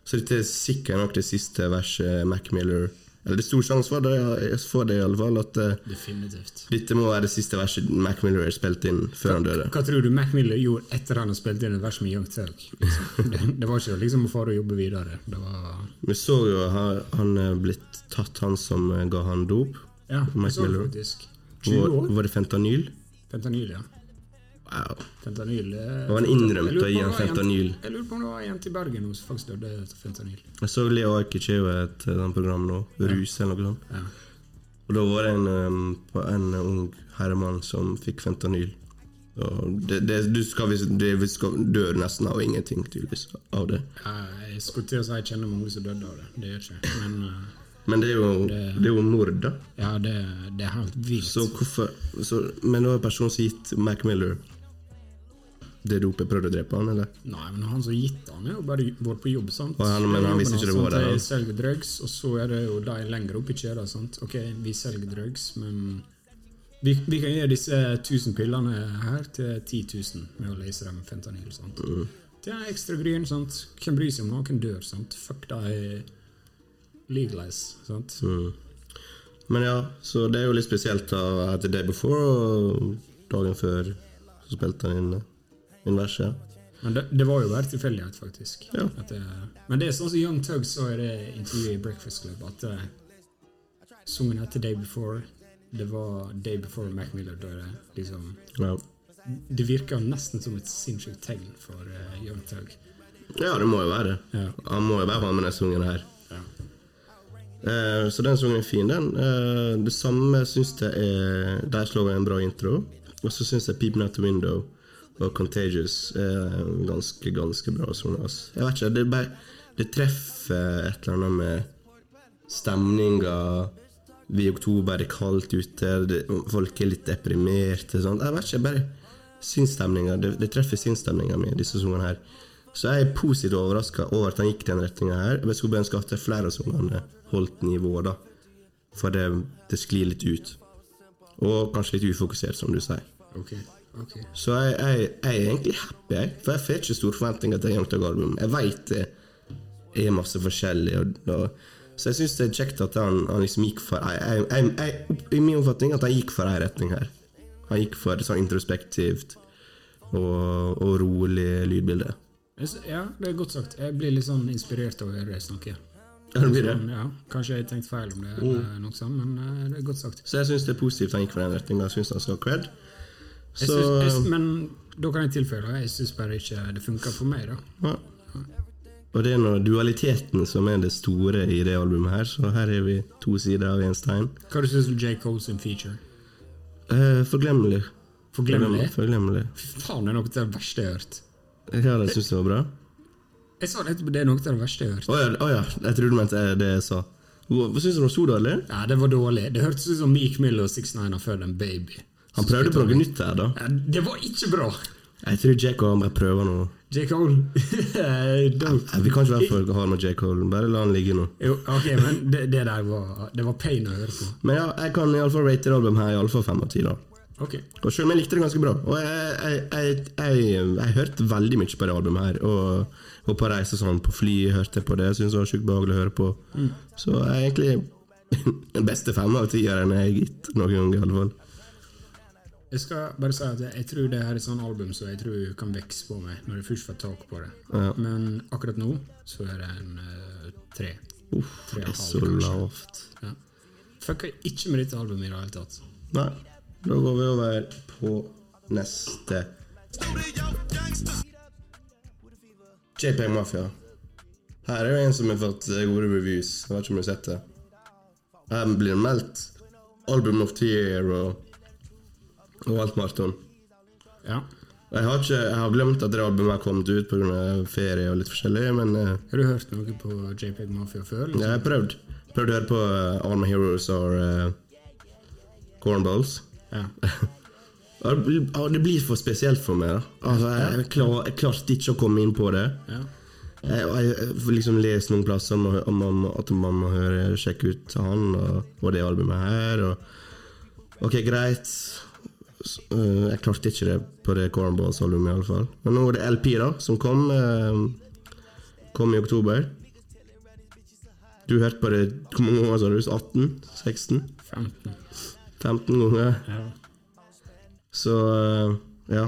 S1: så dette er sikkert nok det siste verset Mac Miller Eller det er stor sjanse for det, for det i alle fall, at eh,
S2: Definitivt.
S1: dette må være det siste verset Mac Miller spilte inn før han døde.
S2: Hva tror du Mac Miller gjorde etter han har spilt inn et vers med Young Tug? Liksom. Det, det var ikke liksom å fare og jobbe videre. Det var
S1: Vi så jo han, han er blitt tatt, han som eh, ga han dop.
S2: Ja,
S1: Mac
S2: jeg så det
S1: Miller.
S2: faktisk. 20
S1: Var,
S2: år?
S1: var det fentanyl?
S2: Fentanyl, ja.
S1: Wow.
S2: Fentanyl eh,
S1: Og han innrømte
S2: jeg lurer
S1: å gi
S2: på
S1: han
S2: om det var en-
S1: fentanyl.
S2: Jeg lurer på om det var en til Bergen nå som faktisk døde av fentanyl.
S1: Jeg så Leo Ajkic er jo et eh, sånt program nå, Rus eller noe sånt.
S2: Ja.
S1: Og da var det en, em, på en ung herremann som fikk fentanyl. Og det, det, du skal, visst- det vi skal dø nesten av ingenting, tydeligvis, av det.
S2: Eh, Jeg skulle til å si jeg kjenner mange som døde av det. Det gjør jeg ikke Men eh,
S1: Men det er jo, det er jo mord, da.
S2: ja, det, det er helt vilt.
S1: Så hvorfor så, Men det var en person som gitt Mac Miller det dopet prøvde å drepe han, eller?
S2: Nei, men han som gitt han er jo bare vært på jobb, sant?
S1: Og han- men han
S2: Jobben
S1: visste ikke det var
S2: hans,
S1: det,
S2: De selger drugs, og så er det jo de lenger opp i kjeden, sant? Ok, vi selger drugs, men vi, vi kan gjøre disse 1000 pillene her til 10 000 med å lese dem fentanyl, sant?
S1: Mm.
S2: Det er ekstra gryn, sant? Hvem bryr seg om noen dør, sant? Fuck de legalize, sant?
S1: Mm. Men ja, så det er jo litt spesielt da, at The Day Before og dagen før så spilte han inn, eh, inn verset. Ja.
S2: Men det, det var jo bare tilfeldighet, faktisk.
S1: Ja.
S2: At det, men det er sånn som Young Tug sa i det intervjuet i Breakfast Club, at eh, sangen heter Day Before. Det var Day Before Mac Miller døde. Liksom.
S1: Ja.
S2: Det virker nesten som et sinnssykt tegn for eh, Young Tug.
S1: ja, det må jo være det.
S2: Ja.
S1: Han må jo være med den sungen her.
S2: Ja.
S1: Eh, så den sungen er fin, den. Eh, det samme syns jeg er Der slår jeg en bra intro. Og så syns jeg 'Peeping Out the Window' og 'Contagious' er ganske, ganske bra songer. ass. Jeg vet ikke, det, er bare, det treffer et eller annet med stemninga. Vi i oktober, det er kaldt ute, det, folk er litt deprimerte. Sånn. Jeg vet ikke, jeg bare sinnsstemninga. Det, det treffer sinnsstemninga mi, disse sangene her. Så jeg er positivt overraska over at han gikk den retninga her. Jeg skulle bare ønske at flere av sangene holdt nivået, da. For det, det sklir litt ut. Og kanskje litt ufokusert, som du sier.
S2: Ok, ok.
S1: Så jeg, jeg, jeg er egentlig happy, jeg. For jeg får ikke store forventninger til Young Tug-album. Jeg veit det er masse forskjellig. Og, og, så jeg syns det er kjekt at han, han liksom gikk for jeg, jeg, jeg, jeg, I min oppfatning at han gikk for ei retning her. Han gikk for sånn introspektivt og, og rolig lydbilde.
S2: Jeg s- Ja, det er godt sagt. Jeg blir litt sånn inspirert av å høre deg snakke.
S1: Ja, det Oh. blir det.
S2: Men, ja, kanskje jeg tenkte feil om det, eller noe sånt, men eh, det er godt sagt.
S1: Så jeg syns det er positivt han gikk for den retninga. Jeg syns han skal ha cred.
S2: Jeg
S1: Så
S2: syns- jeg s- men da kan jeg tilføye, da. jeg syns bare ikke det funker for meg, da.
S1: ja. Og det er nå dualiteten som er det store i det albumet her, så her er vi to sider av én stein.
S2: Hva du syns du om J. Cole sin feature?
S1: Eh, forglemmelig.
S2: Forglemmelig?
S1: Forglemmelig.
S2: Fy faen, det er noe av det verste jeg har hørt.
S1: Ja, det syns jeg var bra.
S2: Jeg sa nettopp det er noe av det verste jeg har hørt.
S1: Å ja, å ja, jeg trodde du mente eh, det jeg sa. Hva hva syns du om Stordal? eller?
S2: Ja, det var dårlig. Det hørtes ut som Meek Mill og 69 har født en baby.
S1: Han prøvde på noe nytt her, da.
S2: Ja, det var ikke bra!
S1: Jeg tror Jack og han bare prøver noe.
S2: J. Cole Don't.
S1: Nei, Vi kan ikke være for harde med Jack Holden, bare la han ligge nå.
S2: Jo, ok, men det, det der var Det var pain å høre på.
S1: Men ja, jeg kan iallfall rate det albumet her i alle fall fem av ti, da.
S2: Ok.
S1: Og selv om jeg likte det ganske bra. Og jeg, jeg, jeg, jeg, jeg, hørte veldig mye på det albumet her. Og, og på reise og sånn, på fly hørte jeg på det. Jeg synes det var sjukt behagelig å høre på. Så jeg er egentlig den beste fem av tieren jeg har gitt noen gang, i alle fall.
S2: Jeg skal bare si at jeg, jeg tror det her er et sånt album som jeg tror kan vokse på meg når jeg først får tak på det. Men akkurat nå så er det en eh, tre.
S1: Uff,
S2: Tre
S1: det er
S2: og en halv,
S1: så
S2: kanskje.
S1: lavt.
S2: Ja. Fucker ikke med dette albumet i det hele tatt.
S1: Nei, da går vi over på neste. JPEG Mafia. Her er jo en som har fått eh, gode reviews. Jeg vet ikke om du har sett det. Her blir det meldt. Album of the year og, og alt maraton.
S2: Ja.
S1: Jeg har, ikke, jeg har glemt at det albumet har kommet ut pga. ferie og litt forskjellig, men eh,
S2: Har du hørt noe på JPEG Mafia før?
S1: jeg har prøvd. Prøvd å høre på eh, All My Heroes og eh, Cornballs.
S2: Ja.
S1: Ja, det blir- ja, det blir for spesielt for meg. da Altså, jeg, jeg, klar, jeg klarte ikke å komme inn på det.
S2: ja.
S1: Jeg, jeg, jeg får liksom lest noen plasser om, om, om at man må høre, sjekke ut han og, og det albumet her. Og, ok, greit. S- øh, jeg klarte ikke det på det Cornballs-albumet, iallfall. Men nå er det LP, da, som kom. eh, kom i oktober. Du hørte på det hvor mange ganger, sa du? 18? 16?
S2: 15.
S1: 15 ganger?
S2: Ja.
S1: Så eh, ja.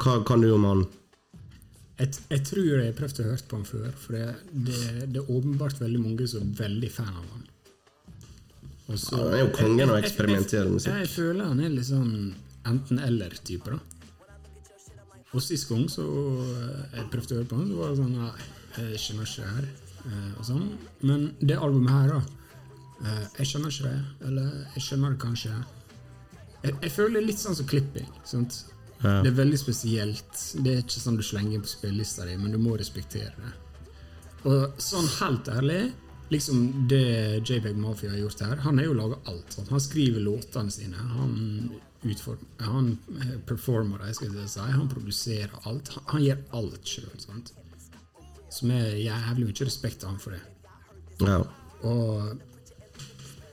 S1: Hva kan du om han?
S2: Jeg, jeg tror jeg har prøvd å høre på han før, for det, det, det er åpenbart veldig mange som er veldig fan av han. Og så-
S1: Han er jo kongen av eksperimentell
S2: Jeg,
S1: musikk.
S2: jeg føler han er litt sånn enten-eller-typer. da. Og sist gang så eh, jeg prøvde å høre på han, så var det sånn Nei, jeg skjønner ikke det her. eh, Og sånn. Men det albumet her, da. eh, Jeg skjønner ikke det. Eller jeg skjønner det kanskje. Jeg, jeg føler det er litt sånn som klipping. sant?
S1: Ja.
S2: Det er veldig spesielt. Det er ikke sånn du slenger inn på spillelista di, men du må respektere det. Og sånn helt ærlig, liksom det JPEG Mafia har gjort her, han har jo laga alt. Sant? Han skriver låtene sine, han, utform, han eh, performer dem, skal jeg si, han produserer alt. Han, han gjør alt sjøl. Som er jævlig mye respekt av han for det.
S1: Ja.
S2: Og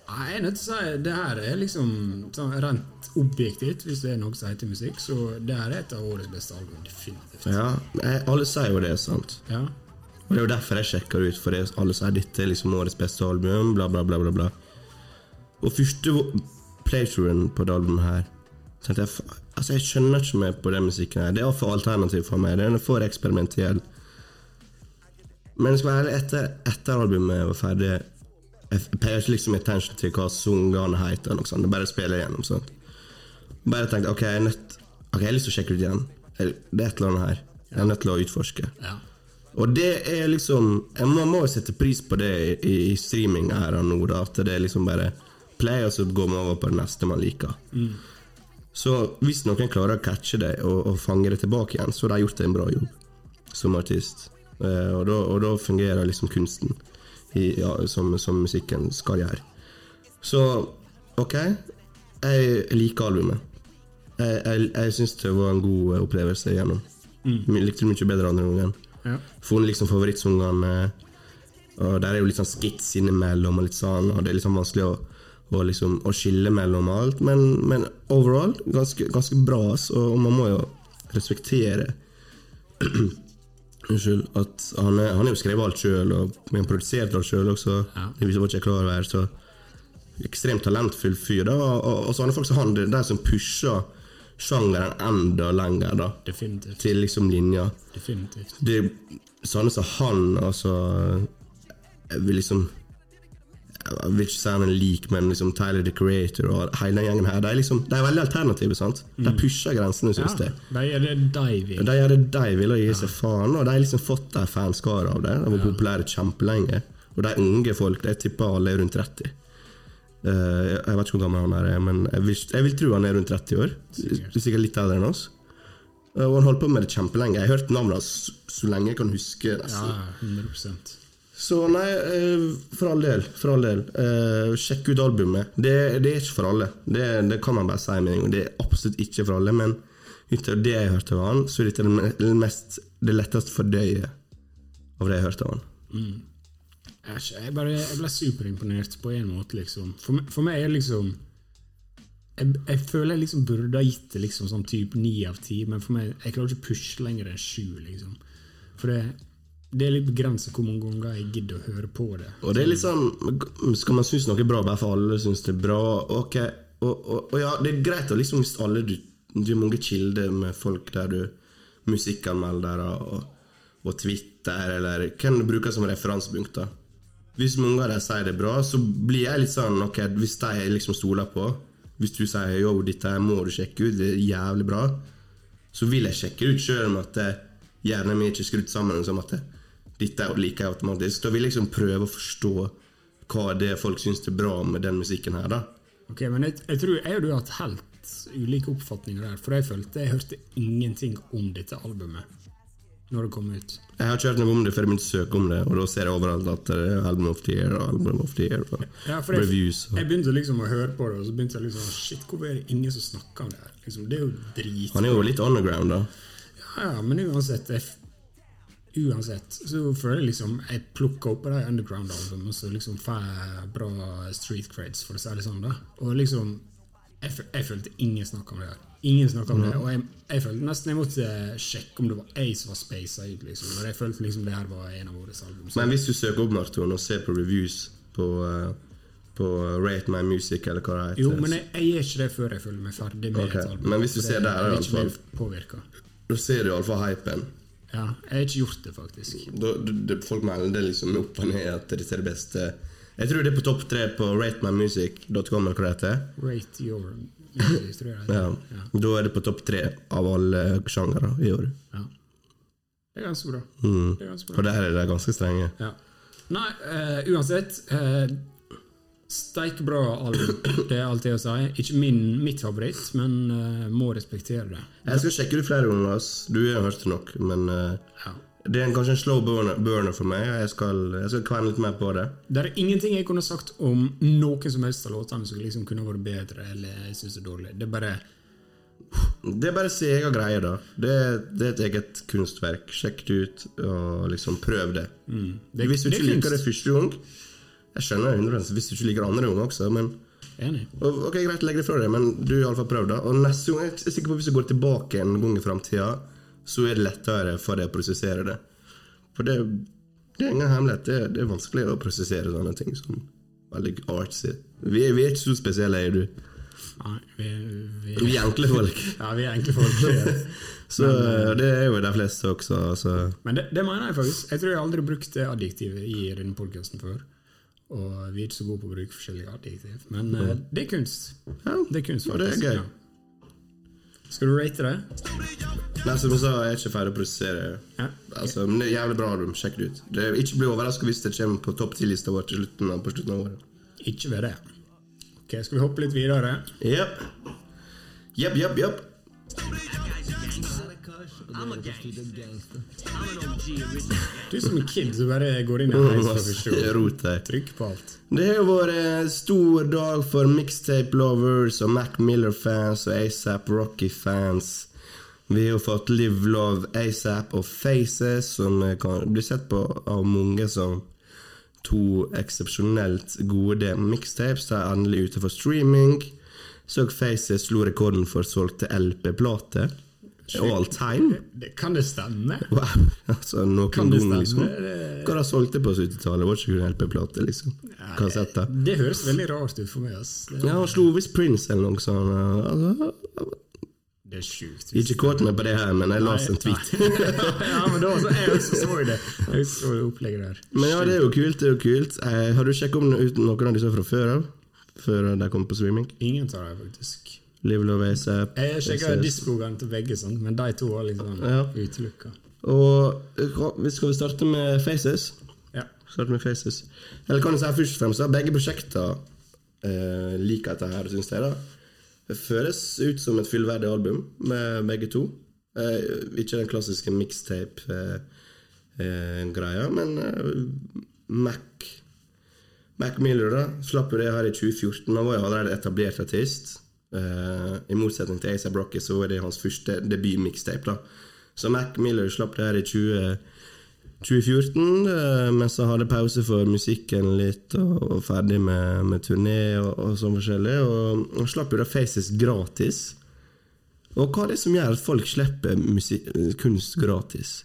S2: Nei, jeg er nødt til å si det her er liksom sånn rent objektivt, hvis det er noe som heter musikk, så det her er et av årets beste album, definitivt.
S1: ja. Nei, alle sier jo det, sant?
S2: Ja.
S1: Og Det er jo derfor jeg sjekker ut, for det. alle sier dette er liksom årets beste album, bla, bla, bla. bla, bla. Og første vo- playthroughen på det albumet her tenkte jeg, fa- altså jeg skjønner ikke mer på den musikken her. Det er for alternativ for meg. Den er for eksperimentell. Men jeg skal være ærlig, etter, etter albumet var ferdig Jeg f- payet ikke liksom attention til hva sangene heter. eller noe sånt. Jeg bare spiller igjennom. sant? Bare tenkte ok, jeg er nødt Ok, jeg har lyst til å sjekke det ut igjen. Jeg- Det er et eller annet her. Jeg er nødt til å utforske.
S2: ja.
S1: Og det er liksom jeg må- må jo sette pris på det i, i streaming her og nå, da, at det er liksom bare play, og så går man over på det neste man liker. Så hvis noen klarer å catche deg og, og fange det tilbake igjen, så har de gjort en bra jobb som artist. Eh, og, da, og da fungerer liksom kunsten i, ja, som, som musikken skal gjøre. Så OK, jeg liker albumet. Jeg, jeg, jeg syns det var en god eh, opplevelse igjennom. Jeg Likte det mye bedre andre gangen
S2: Mm. ja.
S1: funnet liksom favorittsangene. Og der er jo litt sånn skits innimellom, og litt sånn, og det er litt sånn vanskelig å, å, liksom, å skille mellom alt. Men, men overall ganske, ganske bra, ass, og, og man må jo respektere Unnskyld. At han, er, han har jo skrevet alt sjøl, og men produsert alt sjøl også.
S2: Ja.
S1: Det var ikke jeg klar over. så ekstremt talentfull fyr. da, Og, og, og sånne folk som han, det er de som pusher sjangeren enda lenger, da.
S2: Definitivt.
S1: Til liksom linja
S2: Definitivt.
S1: det er sånne som han, altså Jeg vil liksom Jeg vil ikke si han er lik, men liksom Tyler the Creator og hele den gjengen her, de er, liksom, de er veldig alternative, sant? De pusher grensene,
S2: Ja,
S1: syns jeg.
S2: de er det diving.
S1: De gjør det de vil og gir seg faen, og de har liksom fått ei fanskare av det. De var populære kjempelenge. Og de unge folk, jeg tipper alle er rundt 30. Eh, jeg jeg vet ikke hvor gammel han her er, men jeg vil, jeg vil tro han er rundt 30 år.
S2: Sikkert.
S1: Sikkert litt eldre enn oss. Eh, Og han holdt på med det kjempelenge. Jeg har hørt navnet hans så- så lenge jeg kan huske.
S2: Ja,
S1: nesten.
S2: 100
S1: Så nei, eh, for all del. For all del. Eh, sjekk ut albumet. Det, det er ikke for alle. Det, det kan man bare si med en gang. Det er absolutt ikke for alle, men ut av det jeg hørte av han, så er dette det me- det mest Det lettest fordøye av det jeg hørte av han.
S2: Æsj, jeg, bare, jeg ble superimponert på en måte, liksom. For, meg- for meg er det liksom jeg, jeg føler jeg liksom burde ha gitt det liksom sånn type ni av ti, men for meg, jeg klarer ikke å pushe lenger enn sju, liksom. For det, det er litt begrenset hvor mange ganger jeg gidder å høre på det.
S1: Og det er litt sånn Skal man synes noe er bra bare for alle syns det er bra? Ok, og, og, og ja, det er greit å liksom hvis alle du, du har mange kilder med folk der du Musikkanmeldere og, og Twitter, eller hvem du bruker som referansepunkt, da. Hvis mange av dem sier det er bra, så blir jeg litt sånn Ok, hvis de jeg liksom stoler på Hvis du sier jo, dette her må du sjekke ut, det er jævlig bra, så vil jeg sjekke ut sjøl om at eh, hjernen min ikke er skrudd sammen som at eh, dette liker jeg automatisk. Da vil jeg liksom prøve å forstå hva det er folk syns er bra med den musikken her, da.
S2: Ok, men jeg, jeg tror jeg og du har hatt helt ulike oppfatninger der, for jeg følte jeg hørte ingenting om dette albumet når det kom ut.
S1: Jeg har ikke hørt noe om det før jeg begynte å søke om det, og da ser jeg overalt at det er album of the year og album of the year og
S2: Ja, for jeg,
S1: reviews og
S2: jeg begynte liksom å høre på det, og så begynte jeg liksom Shit, hvorfor er det ingen som snakker om det her? Liksom, det er jo drit.
S1: Han er jo litt underground, da.
S2: Ja, ja, men uansett jeg, f- Uansett så føler jeg liksom Jeg plukker opp på de underground-albumene, så liksom får jeg bra street creds, for å si det sånn, da. Og liksom Jeg, f- jeg følte ingen snakka om det her. Ingen snakka om det, og jeg, jeg følte nesten jeg måtte sjekke om det var jeg som var spasa ut, liksom. Og jeg følte liksom det her var en av våre album. Så,
S1: Men hvis du søker opp Marton og ser på reviews på, eh, på Rate My Music, eller hva det heter
S2: jo, men jeg, jeg gjør ikke det før jeg føler meg ferdig med
S1: Ok,
S2: et album.
S1: men hvis du
S2: for
S1: ser der,
S2: jeg vil
S1: i
S2: ikke
S1: alle
S2: bli påvirka.
S1: Da ser du iallfall hypen.
S2: Ja, jeg har ikke gjort det, faktisk.
S1: Da, d- d- folk melder liksom opp og ned at dette er det beste. Jeg tror det er på topp tre på ratemymusic.com. eller hva det heter.
S2: Rate your Lindlys, tror jeg.
S1: Ja. Då är det på topp tre av alle genrer i år.
S2: Ja. Det er ganske bra. Det er ganske
S1: Og
S2: bra.
S1: der er de ganske strenge.
S2: Ja. Nei, eh, uansett eh, Steik bra album. Det er alt jeg sier. Ikke min, mitt favoritt, men eh, må respektere det.
S1: Jeg skal sjekke det flere ganger. ass. Du har hørt det nok, men eh,
S2: Ja.
S1: det er en, kanskje en slow burner, burner for meg. Jeg skal, jeg skal kverne litt mer på det.
S2: Det er ingenting jeg kunne sagt om noen som helst av låtene som liksom kunne vært bedre eller jeg synes er dårlig. Det er bare
S1: Det er bare sin egen greie, da. Det, det er et eget kunstverk. Sjekk det ut, og liksom prøv det.
S2: det,
S1: Hvis du
S2: det
S1: ikke
S2: er
S1: liker det
S2: kunst.
S1: første gang Jeg skjønner det 100 hvis du ikke liker andre gang også, men
S2: Enig.
S1: og, Ok, greit, legg det fra deg, men du har iallfall prøvd det. Og neste gang, jeg er sikker på hvis du går tilbake en gang i framtida, så er det lettere for deg å prosessere det. For det, det er ingen hemmelighet. Det, det er vanskelig å prosessere sånne ting som veldig artsy. Vi, er- vi er ikke så spesielle, jeg og du.
S2: Nei, vi, vi,
S1: Vi er enkle folk.
S2: ja, vi er enkle folk. ja.
S1: Så eh, det er jo de fleste også. Så.
S2: Men det, det mener jeg faktisk. Jeg tror jeg aldri har brukt det adjektivet i denne podkasten før. Og vi er ikke så gode på å bruke forskjellige adjektiv. Men eh, det er kunst.
S1: Ja,
S2: Det er kunst,
S1: og det er
S2: faktisk.
S1: gøy.
S2: Ja. Skal du rate det?
S1: Nei, som jeg sa, jeg er ikke ferdig å prosessere.
S2: Ja.
S1: Altså, men det er jævlig bra album. Sjekk det ut. Det er, ikke bli overraska hvis det kommer på topp 10 lista vår til slutten, av- på slutten av året.
S2: Ikke ved det. Ok, Skal vi hoppe litt videre?
S1: Jepp. Jepp, jepp, jepp.
S5: I'm a gangster.
S2: Du som en kid som bare går inn i en heis for første gang.
S1: Mm. Rot der.
S2: Trykk på alt.
S1: Det har jo vært en stor dag for mixtape lovers og Mac Miller-fans og ASAP Rocky-fans. Vi har jo fått Live Love, ASAP og Faces, som kan bli sett på av mange som to eksepsjonelt gode mixtapes. De er endelig ute for streaming. Så Faces slo rekorden for solgte LP-plater. All time.
S2: Det, kan det stemme?
S1: Wow. Altså, noen
S2: Kan det
S1: gang, liksom.
S2: stemme? Det-
S1: Hva de solgte på 70-tallet, var ikke kun LP-plater, liksom. Kassetter.
S2: Det høres veldig rart ut for meg. ass. Det,
S1: Ja, han slo visst Prince eller noe sånt. Altså,
S2: det er sjukt.
S1: ikke kåt meg på det her, men jeg leste en tweet.
S2: ja, men da så jeg også så det. Jeg så det opplegget der.
S1: Men ja, det er jo kult. det er jo kult. Eh, har du sjekket om ut noen av disse fra før av? Før de kom på streaming?
S2: Ingen tar det, faktisk.
S1: Live Love ASAP.
S2: Jeg sjekker
S1: SS.
S2: diskogene til begge, sånn, men de to var liksom
S1: Ja.
S2: utelukka.
S1: Og eh, hva- skal vi starte med Faces?
S2: Ja.
S1: Starte med Faces. Eller kan du si først og fremst at begge prosjekter eh, liker dette her, syns jeg. da. Det føles ut som et fullverdig album med begge to. Eh, ikke den klassiske mixtape-greia, men eh, Mac Mac Miller da, slapp jo det her i 2014. Han var jo allerede etablert artist. Eh, I motsetning til A$AP Rocky så var det hans første debut-mixtape. da. Så Mac Miller slapp det her i 20, 2014, eh, men så hadde pause for musikken litt, og, og ferdig med, med turné og, og sånn forskjellig. Og, og slapp jo da Faces gratis. Og hva er det som gjør at folk slipper musi- kunst gratis?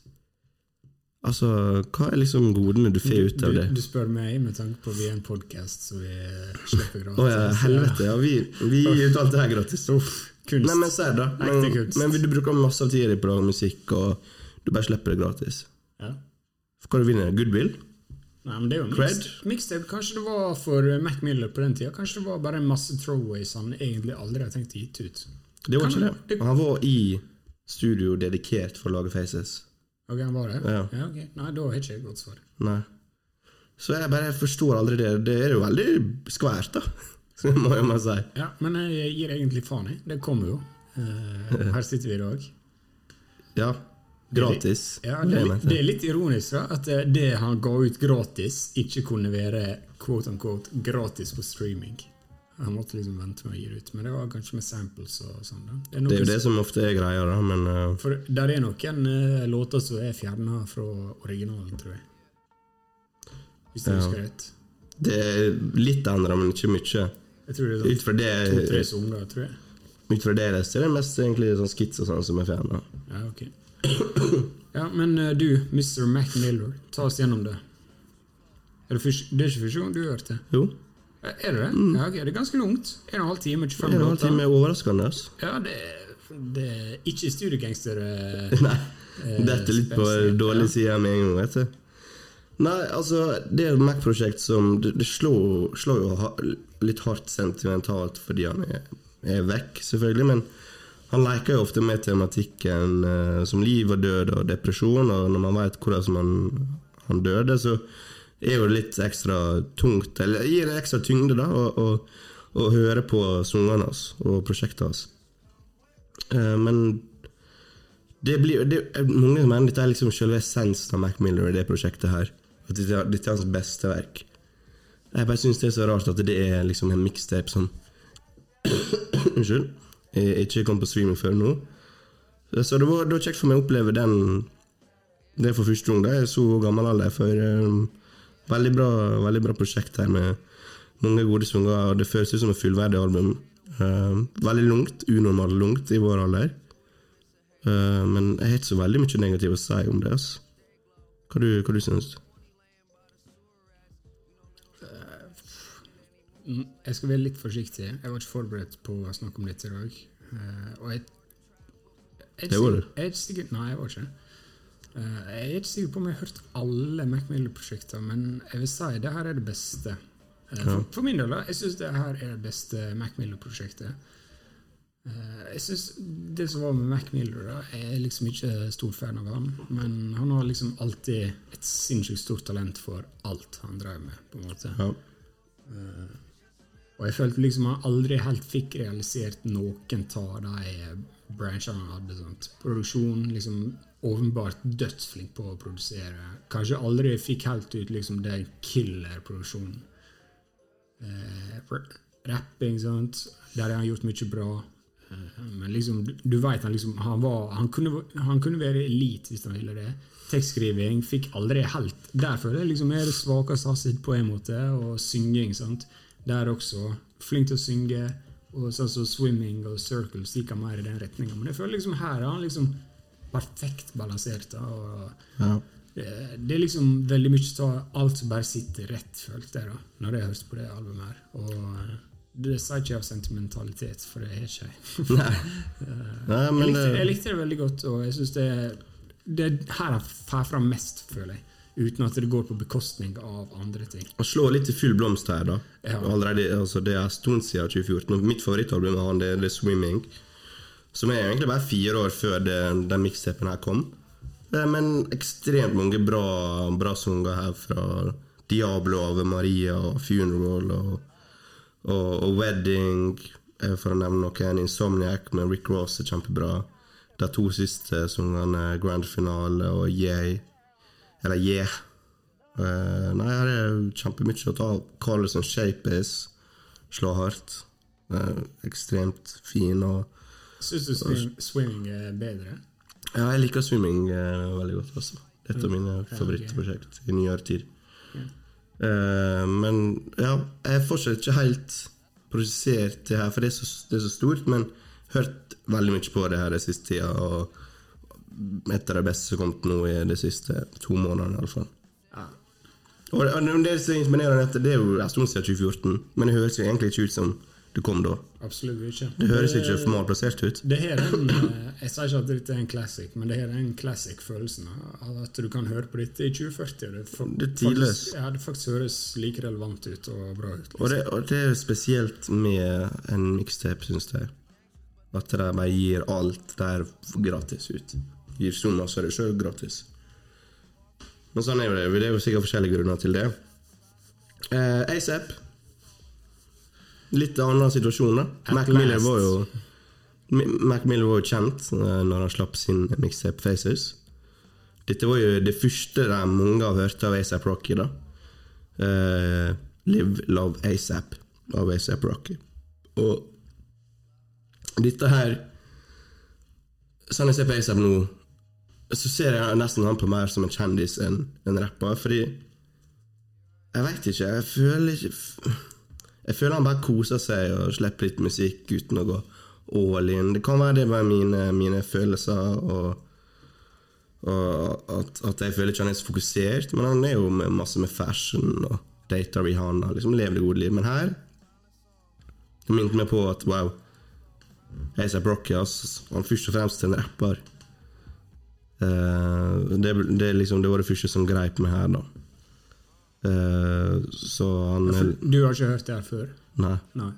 S1: Altså, hva er liksom godene du får ut av
S2: Du,
S1: det?
S2: du spør meg med tanke på vi er en podkast, så vi slipper gratis.
S1: Å ja, helvete. Ja, vi, vi gir ut alt det her gratis.
S2: Uff, kunst.
S1: Nei, men serr, da. Men,
S2: Ekte kunst.
S1: men du bruker masse av tida di på å lage musikk, og du bare slipper det gratis.
S2: ja.
S1: Hva du vinner Goodwill?
S2: Nei, men det er jo
S1: Cred?
S2: mixtape. mixtape. Kanskje det var for Mac Miller på den tida. Kanskje det var bare en masse throwaways han egentlig aldri har tenkt å gitt ut.
S1: Det var
S2: Kan
S1: ikke det.
S2: det-
S1: Han var i studio dedikert for å lage faces.
S2: Ok, han var det?
S1: Ja.
S2: ok. Nei, da har ikke jeg godt svar.
S1: Nei. Så jeg bare forstår aldri det. Det er jo veldig skvært, da. Så må jeg bare si.
S2: Ja, Men jeg gir egentlig faen i. Det kommer jo. Eh, her sitter vi i dag.
S1: Ja. Gratis.
S2: Ja, det, er
S1: jeg
S2: litt,
S1: mente.
S2: det er litt ironisk da, at eh, det han ga ut gratis, ikke kunne være quote unquote, gratis på streaming. Han måtte liksom vente med å gi det ut, men det var kanskje med samples og sånn. da. Det er
S1: Det er
S2: noen
S1: jo det som ofte er greia, da, men eh,
S2: For der er noen eh, låter som er fjerna fra originalen, tror jeg. Hvis jeg
S1: Ja.
S2: husker rett.
S1: det er litt endra, men ikke mye.
S2: Jeg tror det er
S1: Ut
S2: sånn
S1: fra det
S2: to-tre sanger, tror jeg.
S1: Ut fra det jeg leste, det er mest egentlig sånn skits og sånn som er fjerna.
S2: Ja, ok. Ja, men eh, du, Mr. Mac Miller, ta oss gjennom det. Er det, første- det er ikke første gang du har hørt det? Eh,
S1: Jo.
S2: Er det det? Ja, ok, det er ganske langt. En og en halv time,
S1: Mm. En
S2: 25
S1: og en halv
S2: minutter.
S1: time er overraskende. ass.
S2: Ja, det, det er ikke studiegangster. eh,
S1: Nei. Dette er litt på
S2: spesielt,
S1: dårlig
S2: ja.
S1: side med en gang, vet du. Nei, altså, det er et Mac-prosjekt som Det, det slår, slår jo ha, litt hardt sentimentalt fordi han er er vekk, selvfølgelig. Men han leker jo ofte med tematikken eh, som liv og død og depresjon, og når man veit hvordan som han, han døde, så er jo det litt ekstra tungt, eller gir det ekstra tyngde, da, å, å, å høre på sangene hans og prosjektet hans. Eh, men det blir, det, mange mener dette er liksom selve essensen av Mac Miller i det prosjektet her. At dette, er- dette er hans beste verk. Jeg bare syns det er så rart at det er liksom en mixtape som Unnskyld. eh, Ikke kom på streaming før nå. Så det var, det var kjekt for meg å oppleve den det for første gang. da. Jeg er så gammel alder for eh, veldig, bra, veldig bra prosjekt her med mange gode sanger. og Det føles ut som et fullverdig album. Eh, veldig langt, unormalt langt i vår alder. Eh, men jeg har ikke så veldig mye negativt å si om det. ass. Hva, du, hva du syns du?
S2: Mm, Jeg skal være litt forsiktig. Jeg var ikke forberedt på å snakke om dette i dag. Eh, og jeg, jeg er ikke
S1: Det var
S2: sikker-
S1: du.
S2: Jeg er ikke sikker, nei, jeg var ikke det. Eh, jeg er ikke sikker på om jeg har hørt alle Mac Miller-prosjekter, men jeg vil si det her er det beste. Eh, for, for min del, da. Jeg syns det her er det beste Mac Miller-prosjektet. Eh, jeg synes Det som var med Mac Miller, da, jeg er liksom ikke stor fan av han, men han har liksom alltid et sinnssykt stort talent for alt han drev med, på en måte.
S1: Ja.
S2: Og jeg følte liksom han aldri helt fikk realisert noen av de branchene han hadde. Sant? Produksjon, liksom åpenbart dødsflink på å produsere. Kanskje aldri fikk helt ut liksom den killer-produksjonen. Eh, ra- rapping, sant. Der har han gjort mye bra. Eh, Men liksom, du- du vet han liksom han, var, han, kunne, han kunne være elit hvis han ville det. Tekstskriving fikk aldri helt Derfor er det liksom er det svakeste han sitt på en måte. Og synging, sant. Der også. Flink til å synge. Og sånn som swimming og circles gikk han mer i den retninga. Men jeg føler liksom her er han liksom perfekt balansert. da, og
S1: Ja.
S2: det, det er liksom veldig mye av alt som bare sitter rett, følte jeg, da, når jeg hørte på det albumet her. Og eh, det sa ikke jeg av sentimentalitet, for det har ikke jeg.
S1: Nei. Nei,
S2: Jeg
S1: men eh,
S2: likte, jeg
S1: det,
S2: likte det veldig godt, og jeg synes det, det er her han får fram mest, føler jeg. Uten at det går på bekostning av andre ting.
S1: å slå litt i full blomst her, da.
S2: Ja.
S1: Allerede, altså, det er en stund siden 2014. og Mitt favorittalbum av han det er The Swimming. Som er egentlig bare fire år før det, den mixtapen her kom. Eh, Men ekstremt mange bra, bra sanger her fra Diablo, Ave Maria og Funeral og, og, og Wedding, eh, for å nevne noen. Insomniac med Rick Ross er kjempebra. De to siste sangene, Grand Finale og Yeah. Eller Yeah. Eh, nei, her er kjempemye å ta av. Carlsen Shape is slår hardt. Eh, ekstremt fin og
S2: Syns du swim, swimming er bedre?
S1: ja, jeg liker swimming eh, veldig godt. Altså. Det er et av mine favorittprosjekt i nyere tid. Eh, men ja, jeg er fortsatt ikke helt prosessert det her, for det er, så, det er så stort. Men hørt veldig mye på det her den siste tida, og et av de beste som kom til nå i de siste to månedene. i alle fall. Og det, og det er så imponerende at det er jo en stund siden 2014, men det høres jo egentlig ikke ut som du kom da.
S2: Absolutt ikke.
S1: Det høres ikke for malplassert ut.
S2: Det her er en, eh, Jeg sier ikke at dette er en classic, men det her er en classic-følelsen. av At du kan høre på dette i 2040. og Det, fa-
S1: Det er tidløst.
S2: faktisk- Ja, det faktisk høres like relevant ut og bra ut.
S1: Og
S2: Liksom.
S1: det, og det er jo spesielt med en mixtape, syns jeg. At de bare gir alt der gratis ut. Gir så masse av det sjøl gratis. Men sånn er jo det. Det er jo sikkert forskjellige grunner til det. Eh, ASAP. Litt annen situasjon, da.
S2: At
S1: Mac Miller
S2: last.
S1: var jo M- Mac Miller var jo kjent eh, når han slapp sin mixtape Faces. Dette var jo det første de mange har hørt av ASAP Rocky, da. Eh, Live Love ASAP av ASAP Rocky. Og dette her Sånn jeg ser på ASAP nå, så ser jeg nesten han på mer som en kjendis enn en rapper, fordi Jeg veit ikke. Jeg føler ikke Jeg føler han bare koser seg og slipper litt musikk uten å gå all in. Det kan være det var mine, mine følelser, og, og at, at jeg føler ikke han er så fokusert. Men han er jo med masse med fashion og dater Rihanna, liksom lever det gode liv. Men her Det minnet meg på at wow, ASAP Rocky ass, han er først og fremst en rapper. Eh, det, det, er liksom, det var det første som greip meg her, da. Eh, så han
S2: Du har ikke hørt det her før?
S1: Nei.
S2: Nei.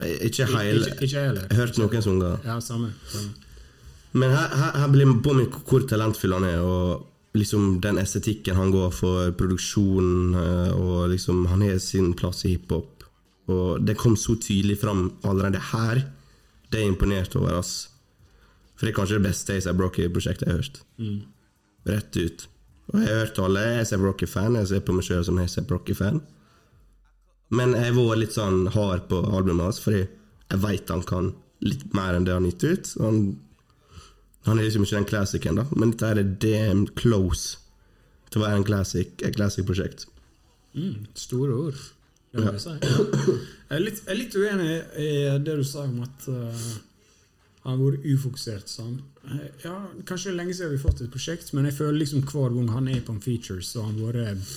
S1: Eh, Ikke heil.
S2: Ikke ikke jeg heller.
S1: Jeg hørte noen som ga.
S2: Ja, samme. samme.
S1: Men her, her, her blir man påminnet hvor talentfull han er, og liksom den estetikken han går for, produksjonen, eh, og liksom han har sin plass i hiphop. Og det kom så tydelig fram allerede her. Det er jeg imponert over, ass. For det er kanskje det beste ASAP Rocky-prosjektet jeg har hørt. Rett ut. Og jeg har hørt alle. Jeg er ASAP Rocky-fan. Jeg ser på meg sjøl som ASAP Rocky-fan. Men jeg har vært litt sånn hard på albumet hans, fordi jeg veit han kan litt mer enn det han har gitt ut. Han, han er liksom ikke den classicen, da, men dette her er damn close til å være en classic, et classic-prosjekt.
S2: Store ord. Det må jeg si. Jeg er litt, jeg er litt uenig i det du sa om at eh, han har vært ufokusert. Sånn. Eh, Ja, kanskje det er lenge siden vi har fått et prosjekt, men jeg føler liksom hver gang han er på en feature, så har han vært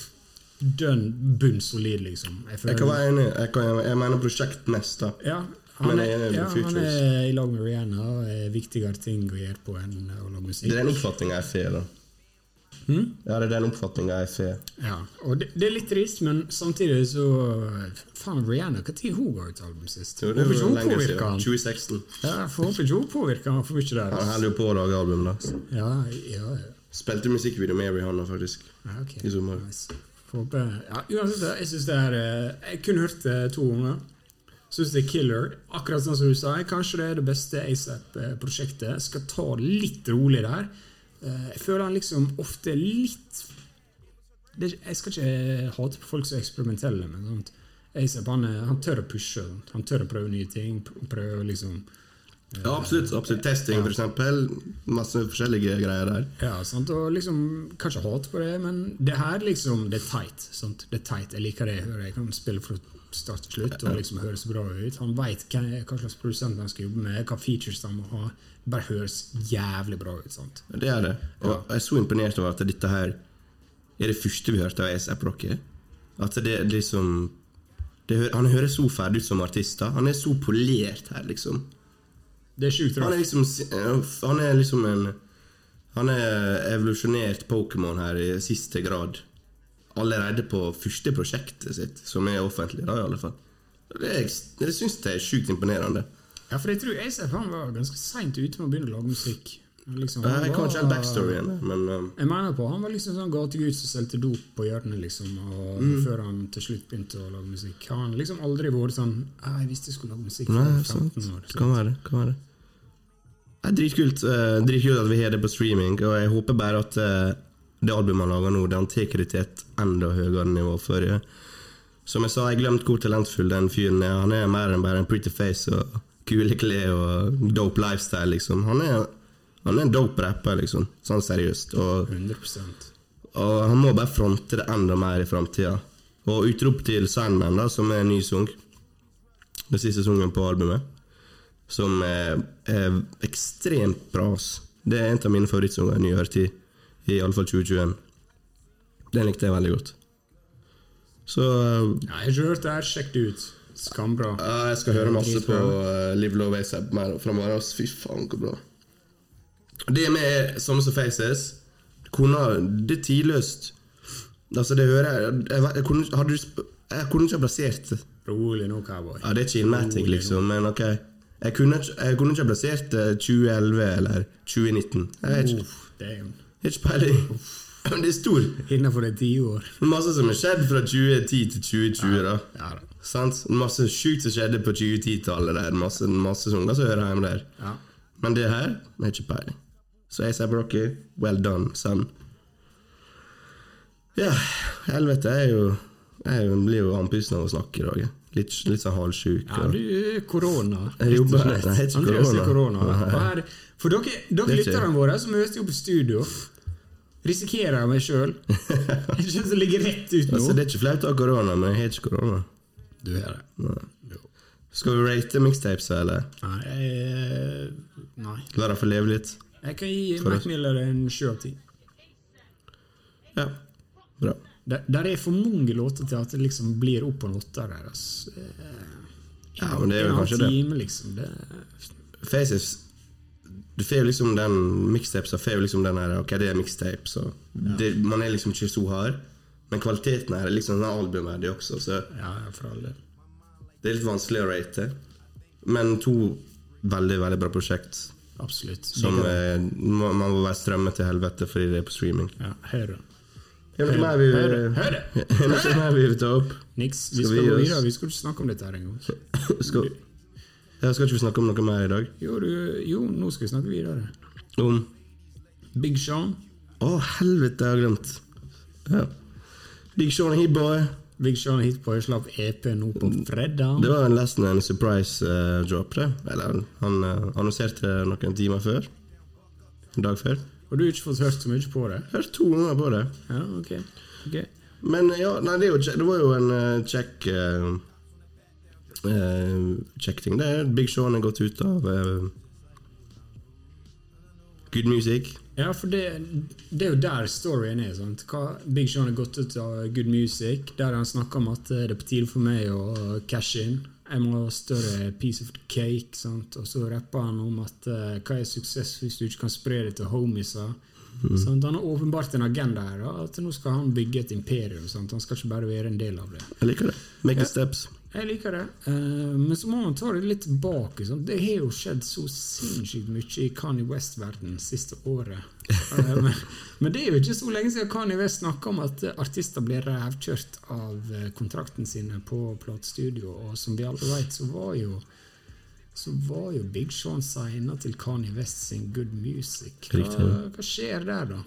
S2: dønn bunn solid, liksom. Jeg
S1: Jeg
S2: føler,
S1: kan være enig. Jeg, kan, jeg mener prosjekt mest, da.
S2: ja, han
S1: Men jeg
S2: er,
S1: er enig i
S2: ja, han
S1: features.
S2: er i lag med Rihanna. og er viktigere ting å gjøre på enn å lage musikk.
S1: Det er den oppfatninga jeg får, da.
S2: Hmm?
S1: Ja, det er den oppfatninga jeg får.
S2: Ja, og det, det er litt trist, men samtidig så eh, Faen, Rihanna, når hun ga ut album sist?
S1: Jo,
S2: Håper
S1: det var
S2: ikke hun
S1: lenge siden.
S2: påvirker han.
S1: 2016.
S2: Ja, jeg får håpe ikke hun påvirker han for mye der.
S1: Han
S2: Altså.
S1: holder jo på å lage album, da.
S2: Ja, ja, ja.
S1: Spilte musikkvideo med Rihanna, faktisk.
S2: ja ok.
S1: I sommer.
S2: Nice. Får Håpe. Ja, uansett, jeg synes det er eh, Jeg kunne hørt det to ganger. Syns det er killer. Akkurat sånn som du sa, kanskje det er det beste ASAP-prosjektet. Skal ta det litt rolig der. Eh, Jeg føler han liksom ofte er litt det, Jeg skal ikke eh, hate på folk som er eksperimentelle, men sånt. ASAP han, er- han tør å pushe. sant? Han tør å prøve nye ting. pr- Prøve å liksom
S1: Ja, absolutt. absolutt. Testing, for eksempel. Masse forskjellige greier der.
S2: Ja, sant? og liksom, kanskje hat på det, men det her liksom, det er tight. Sant? Det er tight, Jeg liker det jeg hører. Jeg kan spille fra start til slutt og liksom høres bra ut. Han veit hva, hva slags produsent han skal jobbe med, hva features han må ha. Det bare høres jævlig bra ut. sant?
S1: Det er det. Og jeg er så imponert over at dette her er det første vi hørte av ASAP Rocky. At det er liksom det, hø- Han høres så ferdig ut som artist. da. Han er så polert her, liksom.
S2: Det er sjukt
S1: Han er
S2: rart.
S1: liksom Han er liksom en Han er evolusjonert Pokémon her i siste grad. Allerede på første prosjektet sitt, som er offentlig, da i alle fall. Det, er ekst- det syns jeg er sjukt imponerende.
S2: Ja, for jeg tror ASAP han var ganske seint ute med å begynne å lage musikk. Han Liksom, han
S1: Jeg kan ikke helt
S2: var-
S1: backstoryen, men um,
S2: Jeg mener på, Han var liksom sånn gategutt som solgte dop på hjørnet, liksom, og
S1: Mm.
S2: før han til slutt begynte å lage musikk. Har han liksom aldri vært sånn «Ah, 'Jeg visste jeg skulle lage musikk da jeg
S1: Nei,
S2: var 15
S1: sant.
S2: år'. Så.
S1: Kan være, kan være. Det er dritkult, eh, dritkult at vi har det på streaming, og jeg håper bare at eh, det albumet han lager nå, det han tar det til et enda høyere nivå for eh, Som jeg sa, jeg glemte hvor talentfull den fyren er. Han er mer enn bare en pretty face og kule klær og dope lifestyle, liksom. Han er, han er en dope rapper, liksom. Sånn seriøst. Og
S2: 100
S1: og han må bare fronte det enda mer i framtida. Og utrop til Sandman, da, som er en ny sang. Den siste sangen på albumet. Som er, er ekstremt bra. ass. Det er en av mine favorittsanger i nyere tid. I alle fall 2021. Den likte jeg veldig godt. Så eh,
S2: Ja, jeg har ikke hørt det her. Sjekk det ut. Skambra.
S1: ja, jeg skal høre masse på eh, Live Love ASAP mer framover. ass. Fy faen, hvor bra. Det med Sommer som Faces kunne, Det er tidløst. Altså, det hører jeg Jeg, vet- jeg, kunne, ikke- hadde du, sp- jeg kunne ikke ha plassert det.
S2: Rolig nå, cowboy.
S1: Ja, det er chillmatic, liksom, men ok. Jeg kunne, ikke- jeg kunne ikke ha plassert det 2011 eller 2019. Jeg vet ikke.
S2: Uff, damn.
S1: Jeg har ikke peiling. Men det er stor.
S2: Innenfor det ti år.
S1: Masse som har skjedd fra 2010 til 2020, da.
S2: Ja da.
S1: Sant? Masse sjukt som skjedde på 2010-tallet der. Masse, masse sanger som hører hjemme der.
S2: Ja.
S1: Men det her jeg har ikke peiling. Så ASAP Rocky, well done, son. Ja, helvete. Jeg er jo Jeg er jo- blir jo andpusten av å snakke i dag. jeg. Litt, litt sånn halvsjuk.
S2: Ja,
S1: og-
S2: du, korona.
S1: Jeg jobber-
S2: rett og slett.
S1: Nei, jeg er ikke
S2: Andreas er
S1: korona.
S2: korona. Og her, for dere, dere
S1: Det er ikke-
S2: lytterne våre som møter opp i studio, risikerer jeg meg sjøl. Jeg kjenner det ligger rett ut nå.
S1: altså, det er ikke flaut å ha korona, men jeg har ikke korona.
S2: Du er det. Jo.
S1: Skal vi rate mixtapes, eller?
S2: Nei, jeg, nei.
S1: La dem få leve litt?
S2: Jeg kan gi
S1: Tror du-
S2: Mac Miller en sju av ti.
S1: Ja. Bra.
S2: Der, der er for mange låter til at det liksom blir opp på en åtter der. Altså. Eh,
S1: Ja, men det er
S2: en
S1: jo
S2: halv
S1: kanskje det.
S2: time, Liksom. det.
S1: Faces Du får jo liksom den Mixtapes får jo liksom den her Ok, det er mixtape, så det, Man er liksom ikke så hard. Men kvaliteten her er liksom den albumet her, det også, så
S2: Ja, ja, for all del.
S1: det er litt vanskelig å rate. Men to veldig, veldig bra prosjekt.
S2: Absolutt.
S1: Som
S2: Likedan.
S1: eh, må- man må være strømmet til helvete fordi det er på streaming.
S2: Ja, hør da.
S1: Mm. Er det noe mer vi,
S2: Hør det. Hør det.
S1: Er det noe mer vi vil ta opp?
S2: Niks. Vi
S1: Skal
S2: skal
S1: vi gi
S2: gå
S1: oss?
S2: videre. Vi skulle ikke snakke om dette her engang.
S1: Skal, ja, skal ikke vi snakke om noe mer i dag?
S2: Jo, du- jo, nå skal vi snakke videre.
S1: Om
S2: Big Sean.
S1: Å, helvete, jeg har glemt. Ja. Big Sean Hibboy.
S2: Big Sean Hitboy slapp EP E nå på fredag.
S1: Mm. Det var en- nesten en surprise eh, drop, det. Eller, han eh, annonserte noen timer før. En dag før.
S2: Og du har ikke fått hørt så mye på det?
S1: Hørte to ganger på det.
S2: Ja, ok. Ok.
S1: Men ja, nei, det, er jo, kje- det var jo en eh, kjekk eh, eh, Kjekk ting. Det er Big Sean er gått ut av eh, Good Music.
S2: Ja, for det, det er jo der storyen er. sant? Hva, Big Sean har gått ut av Good Music, der han snakker om at eh, det er på tide for meg å cashe in. Jeg må ha større piece of the cake. sant? Og så rapper han om at eh, hva er suksess hvis du ikke kan spre det til homiesa? Sant? Han har åpenbart en agenda her, da, at nå skal han bygge et imperium. sant? Han skal ikke bare være en del av det.
S1: Jeg liker det. Make a steps.
S2: Jeg liker det, eh, men så må man ta det litt tilbake. Sant? Det har jo skjedd så sinnssykt mye i Kanye West-verdenen siste året. Eh, men, men det er jo ikke så lenge siden Kanye West snakka om at eh, artister blir rævkjørt av eh, kontrakten sine på platestudio, og som vi alle vet så var jo så var jo Big Sean signa til Kanye West sin Good Music. Hva,
S1: Riktig.
S2: hva skjer der, da?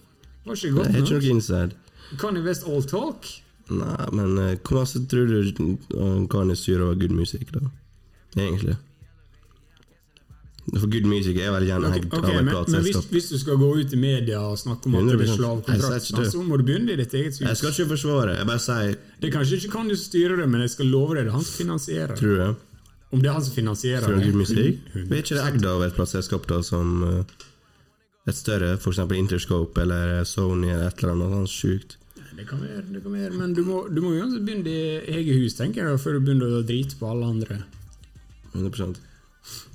S2: Var ikke
S1: Jeg har
S2: godt
S1: ikke
S2: nok?
S1: noe inside.
S2: Kanye West all talk?
S1: Nei, men eh, hvor masse tror du eh, Kanye styrer over Good Music, da? Egentlig. For Good Music er vel gjerne
S2: Ok,
S1: hekt
S2: ok,
S1: av et
S2: men, men hvis,
S1: plateselskap.
S2: hvis du skal gå ut i media og snakke om at du er
S1: 100%.
S2: slav
S1: sånn- Jeg
S2: kontrakt,
S1: sier ikke det.
S2: så må du begynne i ditt eget
S1: Jeg
S2: hus.
S1: skal ikke forsvare, jeg bare sier
S2: Det er kanskje ikke kan du styre det, men jeg skal love deg det er han som finansierer det.
S1: Tror du det?
S2: Om det er han som finansierer
S1: Tror du
S2: det.
S1: Good Music?
S2: Hun-
S1: Vi er ikke det eid av et plateselskap da som eh, et større, for eksempel Interscope eller Sony eller et eller annet sånt sjukt?
S2: Det kan være, det kan være. Men du må, du må uansett begynne i eget hus, tenker jeg, før du begynner å drite på alle andre.
S1: 100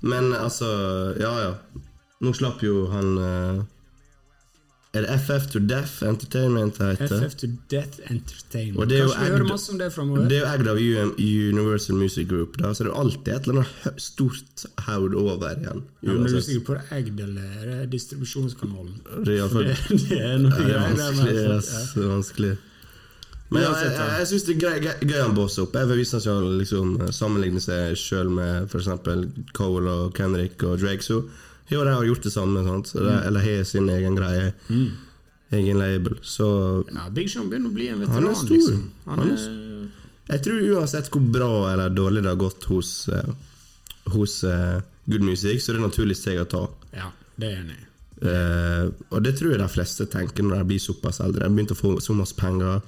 S1: Men altså, ja ja. Nå slapp jo han eh, Er det FF to Deaf Entertainment det heter?
S2: FF to Death Entertainment.
S1: Og det er jo
S2: Kanskje vi hører
S1: eid-
S2: masse om det framover.
S1: Det er jo eid av UM, Universal Music Group, da, så det er jo alltid et eller annet hø- stort haud over igjen.
S2: Ja, men du er
S1: uansett.
S2: sikker på det eid eller er det distribusjonskanalen?
S1: det er i alle fall-
S2: Det, det er noe
S1: Ja, det
S2: greier
S1: er
S2: der,
S1: vanskelig.
S2: men-
S1: ass, det er vanskelig. Men jeg, jeg, jeg, jeg syns det er grei- gøy, gøy han bosser opp. Jeg vil vise han skal liksom eh, sammenligne seg sjøl med f.eks. Cole og Kendrick og Drake. Så jo, de har gjort det samme, sant? Så
S2: Mm.
S1: det, eller har sin egen greie. Egen label. Så
S2: Ja, Big Sean begynner å bli en
S1: han
S2: veteran,
S1: er stor.
S2: liksom.
S1: Han er, s- jeg tror uansett hvor bra eller dårlig det har gått hos, eh, hos eh, Good Music, så det er et naturlig steg å ta.
S2: Ja, det er jeg enig i.
S1: Eh, og det tror jeg de fleste tenker når de blir såpass eldre. De har begynt å få så masse penger.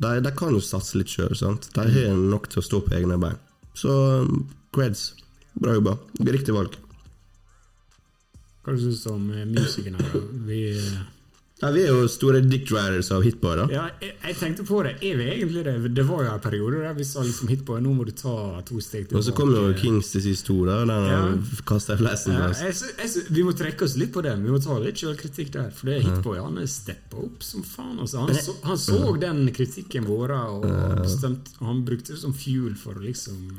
S1: De, de kan jo satse litt sjøl. De har nok til å stå på egne bein. Så um, creds. Bra jobba. Riktig valg.
S2: Hva du syns du om eh, musikken her? da? Vi, eh,
S1: Ja, vi er jo store dick riders av hitbarer.
S2: ja, jeg, jeg tenkte på det. Er vi egentlig det? Det var jo en periode der vi sa liksom hit på Nå må du ta to steg tilbake.
S1: Og så kom jo Kings til sist to, da. Den
S2: Ja.
S1: ja. kasta jeg flest
S2: ja,
S1: ja,
S2: jeg, sy- jeg, sy- Vi må trekke oss litt på den. Vi må ta litt selvkritikk der. For det er hit på, ja, han er steppa opp som faen. Altså. Han, så, han så den kritikken vår, og bestemt, han brukte det som fuel for å liksom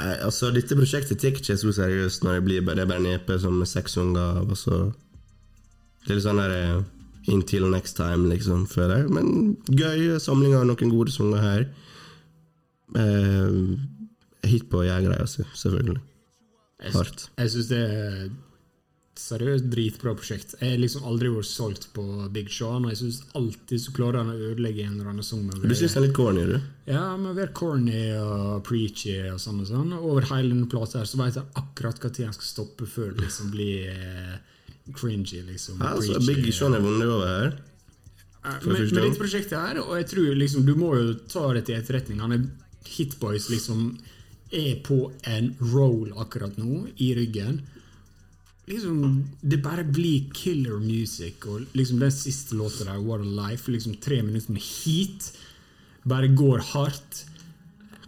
S2: eh,
S1: Altså, dette prosjektet tar ikke så seriøst når det blir bare, det er bare en EP som er seks unger, og så Det er litt sånn der eh, Until next time, liksom, føler jeg. Men gøy samling av noen gode sanger her. Eh, hit på jeg-greia si, selvfølgelig.
S2: jeg, sy-
S1: Hardt.
S2: jeg syns det er seriøst dritbra prosjekt. Jeg har liksom aldri vært solgt på Big Sean, og jeg syns alltid så klarer han å ødelegge en eller annen sang. med å
S1: Du
S2: være-
S1: syns den er litt corny, du?
S2: Ja, men vi er corny og preachy og sånn og sånn. Over hele denne plata her så veit jeg akkurat når han skal stoppe før det liksom blir eh, cringy, liksom. og
S1: Altså,
S2: preachy.
S1: Big Sean er vunnet over her.
S2: Ja,
S1: for
S2: Men,
S1: første
S2: men
S1: gang.
S2: dette prosjektet her, og jeg tror liksom du må jo ta det til etterretning. Han er Hitboys liksom er på en roll akkurat nå, i ryggen. Liksom, det bare blir killer music, og liksom den siste låta der, What a Life, liksom tre minutter med heat, bare går hardt.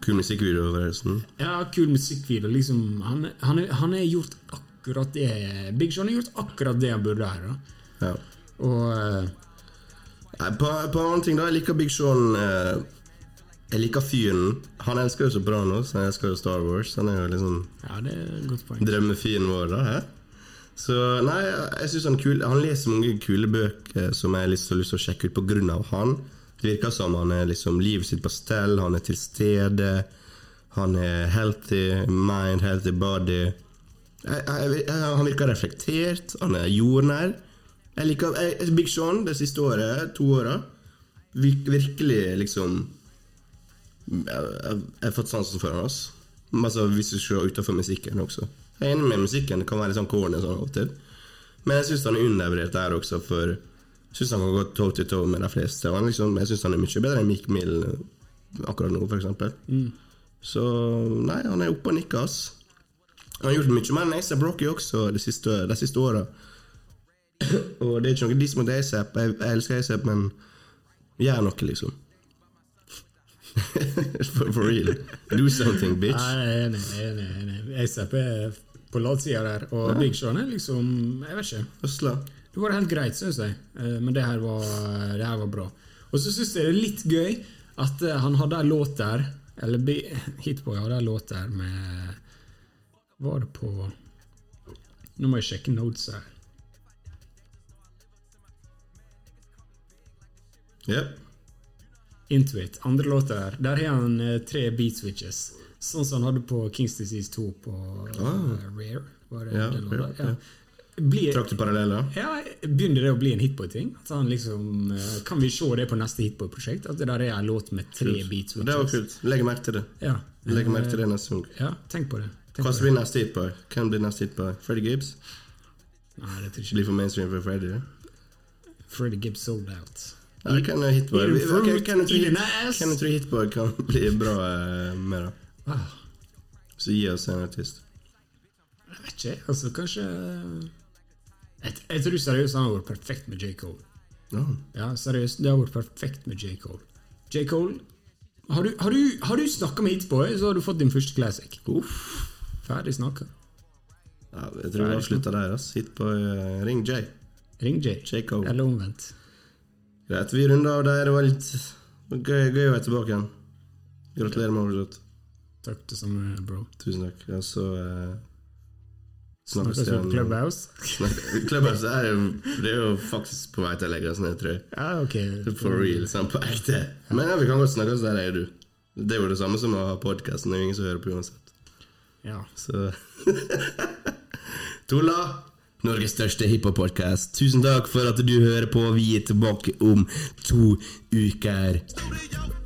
S1: Kul musikkvideo, forresten.
S2: Ja, kul musikkvideo. Liksom, han, han, er- han er gjort akkurat det Big Sean har gjort akkurat det han burde her. Da.
S1: Ja.
S2: Og eh,
S1: Nei, På, på en annen ting, da. Jeg liker Big Sean. Eh, jeg liker fyren. Han elsker jo Sopranos, han elsker jo Star Wars. Han er jo liksom
S2: Ja, det er et godt poeng.
S1: drømmefyren vår. da, hæ? Så nei, jeg synes han, er kul, han leser mange kule bøker som jeg liksom har lyst til å sjekke ut på grunn av han. Det virker som han er liksom livet sitt på stell, han er til stede. Han er healthy mind, healthy body. Jeg, jeg, jeg, han virker reflektert, han er jordnær. Jeg liker jeg, Big Sean det siste året, to åra. Vir, virkelig liksom jeg, jeg, jeg har fått sansen for han, altså. Men altså, hvis du ser utenfor musikken også. Jeg er enig med musikken, det kan være litt sånn corny sånn av og til. Men jeg syns han er undervurdert der også, for jeg syns han kan gå toe to toe med de fleste. Og han liksom, jeg syns han er mye bedre enn Mick Mill akkurat nå, f.eks. Så nei, han er oppe og nikker, ass. Han har gjort mye mer enn ASAP Rocky også de siste, de siste åra. og det er ikke noe diss mot ASAP, jeg, jeg elsker ASAP, men gjør noe, liksom. for, for real. Do something, bitch.
S2: Ah, Nei, jeg er enig. jeg er enig, jeg er enig. ASAP er på latsida der, og Big Sean er liksom Jeg vet ikke.
S1: Høsla.
S2: Det går helt greit, syns jeg. Eh, Men det her var, det her var bra. Og så syns jeg det er litt gøy at eh, han hadde ei låt der Eller Bi- Hitboy hadde ei låt der med Var det på Nå må jeg sjekke notes her.
S1: Yep.
S2: Intuit, andre låta der. Der har han eh, tre beat switches. Sånn som han hadde på Kings Disease 2 på eh, Rare. Var det
S1: Ah. Ja,
S2: den låta?
S1: Rare, ja.
S2: Ja. Blir,
S1: Trakk du paralleller?
S2: Ja, Begynner det å bli en hitboy-ting? At han liksom, eh, Kan vi se det på neste hitboy-prosjekt? At det der er en låt med tre beats?
S1: Det var kult. Legg merke til det.
S2: Ja.
S1: Legg merke til det neste gang.
S2: ja, tenk på det. Tenk
S1: Hva
S2: på
S1: som
S2: det.
S1: blir neste hit på? Hvem blir neste hit på? Freddy Gibbs?
S2: Nei, det tror jeg
S1: Blir for mainstream for Freddy? ja?
S2: ikke. Freddy Gibbs sold out.
S1: Nei, hvem er hit på?
S2: Eat a fruit,
S1: Hvem du
S2: eat
S1: tror
S2: an
S1: hit-
S2: ass.
S1: hvem du tror hit på kan bli bra eh, med det?
S2: Ah,
S1: Så gi oss en artist.
S2: jeg vet ikke. Altså, kanskje Jeg, jeg tror seriøst han har vært perfekt med J. Cole.
S1: Ja.
S2: Ja, seriøst, det har vært perfekt med J. Cole. J. Cole Har du, har du, har du snakka med hitboy, så har du fått din første classic. Ferdig snakka.
S1: Ja, jeg tror vi avslutter der. ass. Hit på eh, Ring J.
S2: Ring J.
S1: J. Cole.
S2: Eller omvendt.
S1: Greit, vi runder av der. Det var litt gøy, gøy å være tilbake igjen. Gratulerer med overstått.
S2: Takk det samme, bro.
S1: Tusen takk. Ja, så eh,
S2: Snakkes vi på Clubhouse?
S1: Nei, Clubhouse er jo, det er jo faktisk på vei til å legge oss ned, tror jeg.
S2: Ja, ok.
S1: For real, sånn på ekte. Men ja, vi kan godt snakke oss der, jeg og du. Det er jo det samme som å ha podkasten. Det er jo ingen som hører på uansett.
S2: Ja.
S1: Så Tulla! Norges største hiphop-podkast. Tusen takk for at du hører på. Vi er tilbake om to uker.
S4: Studio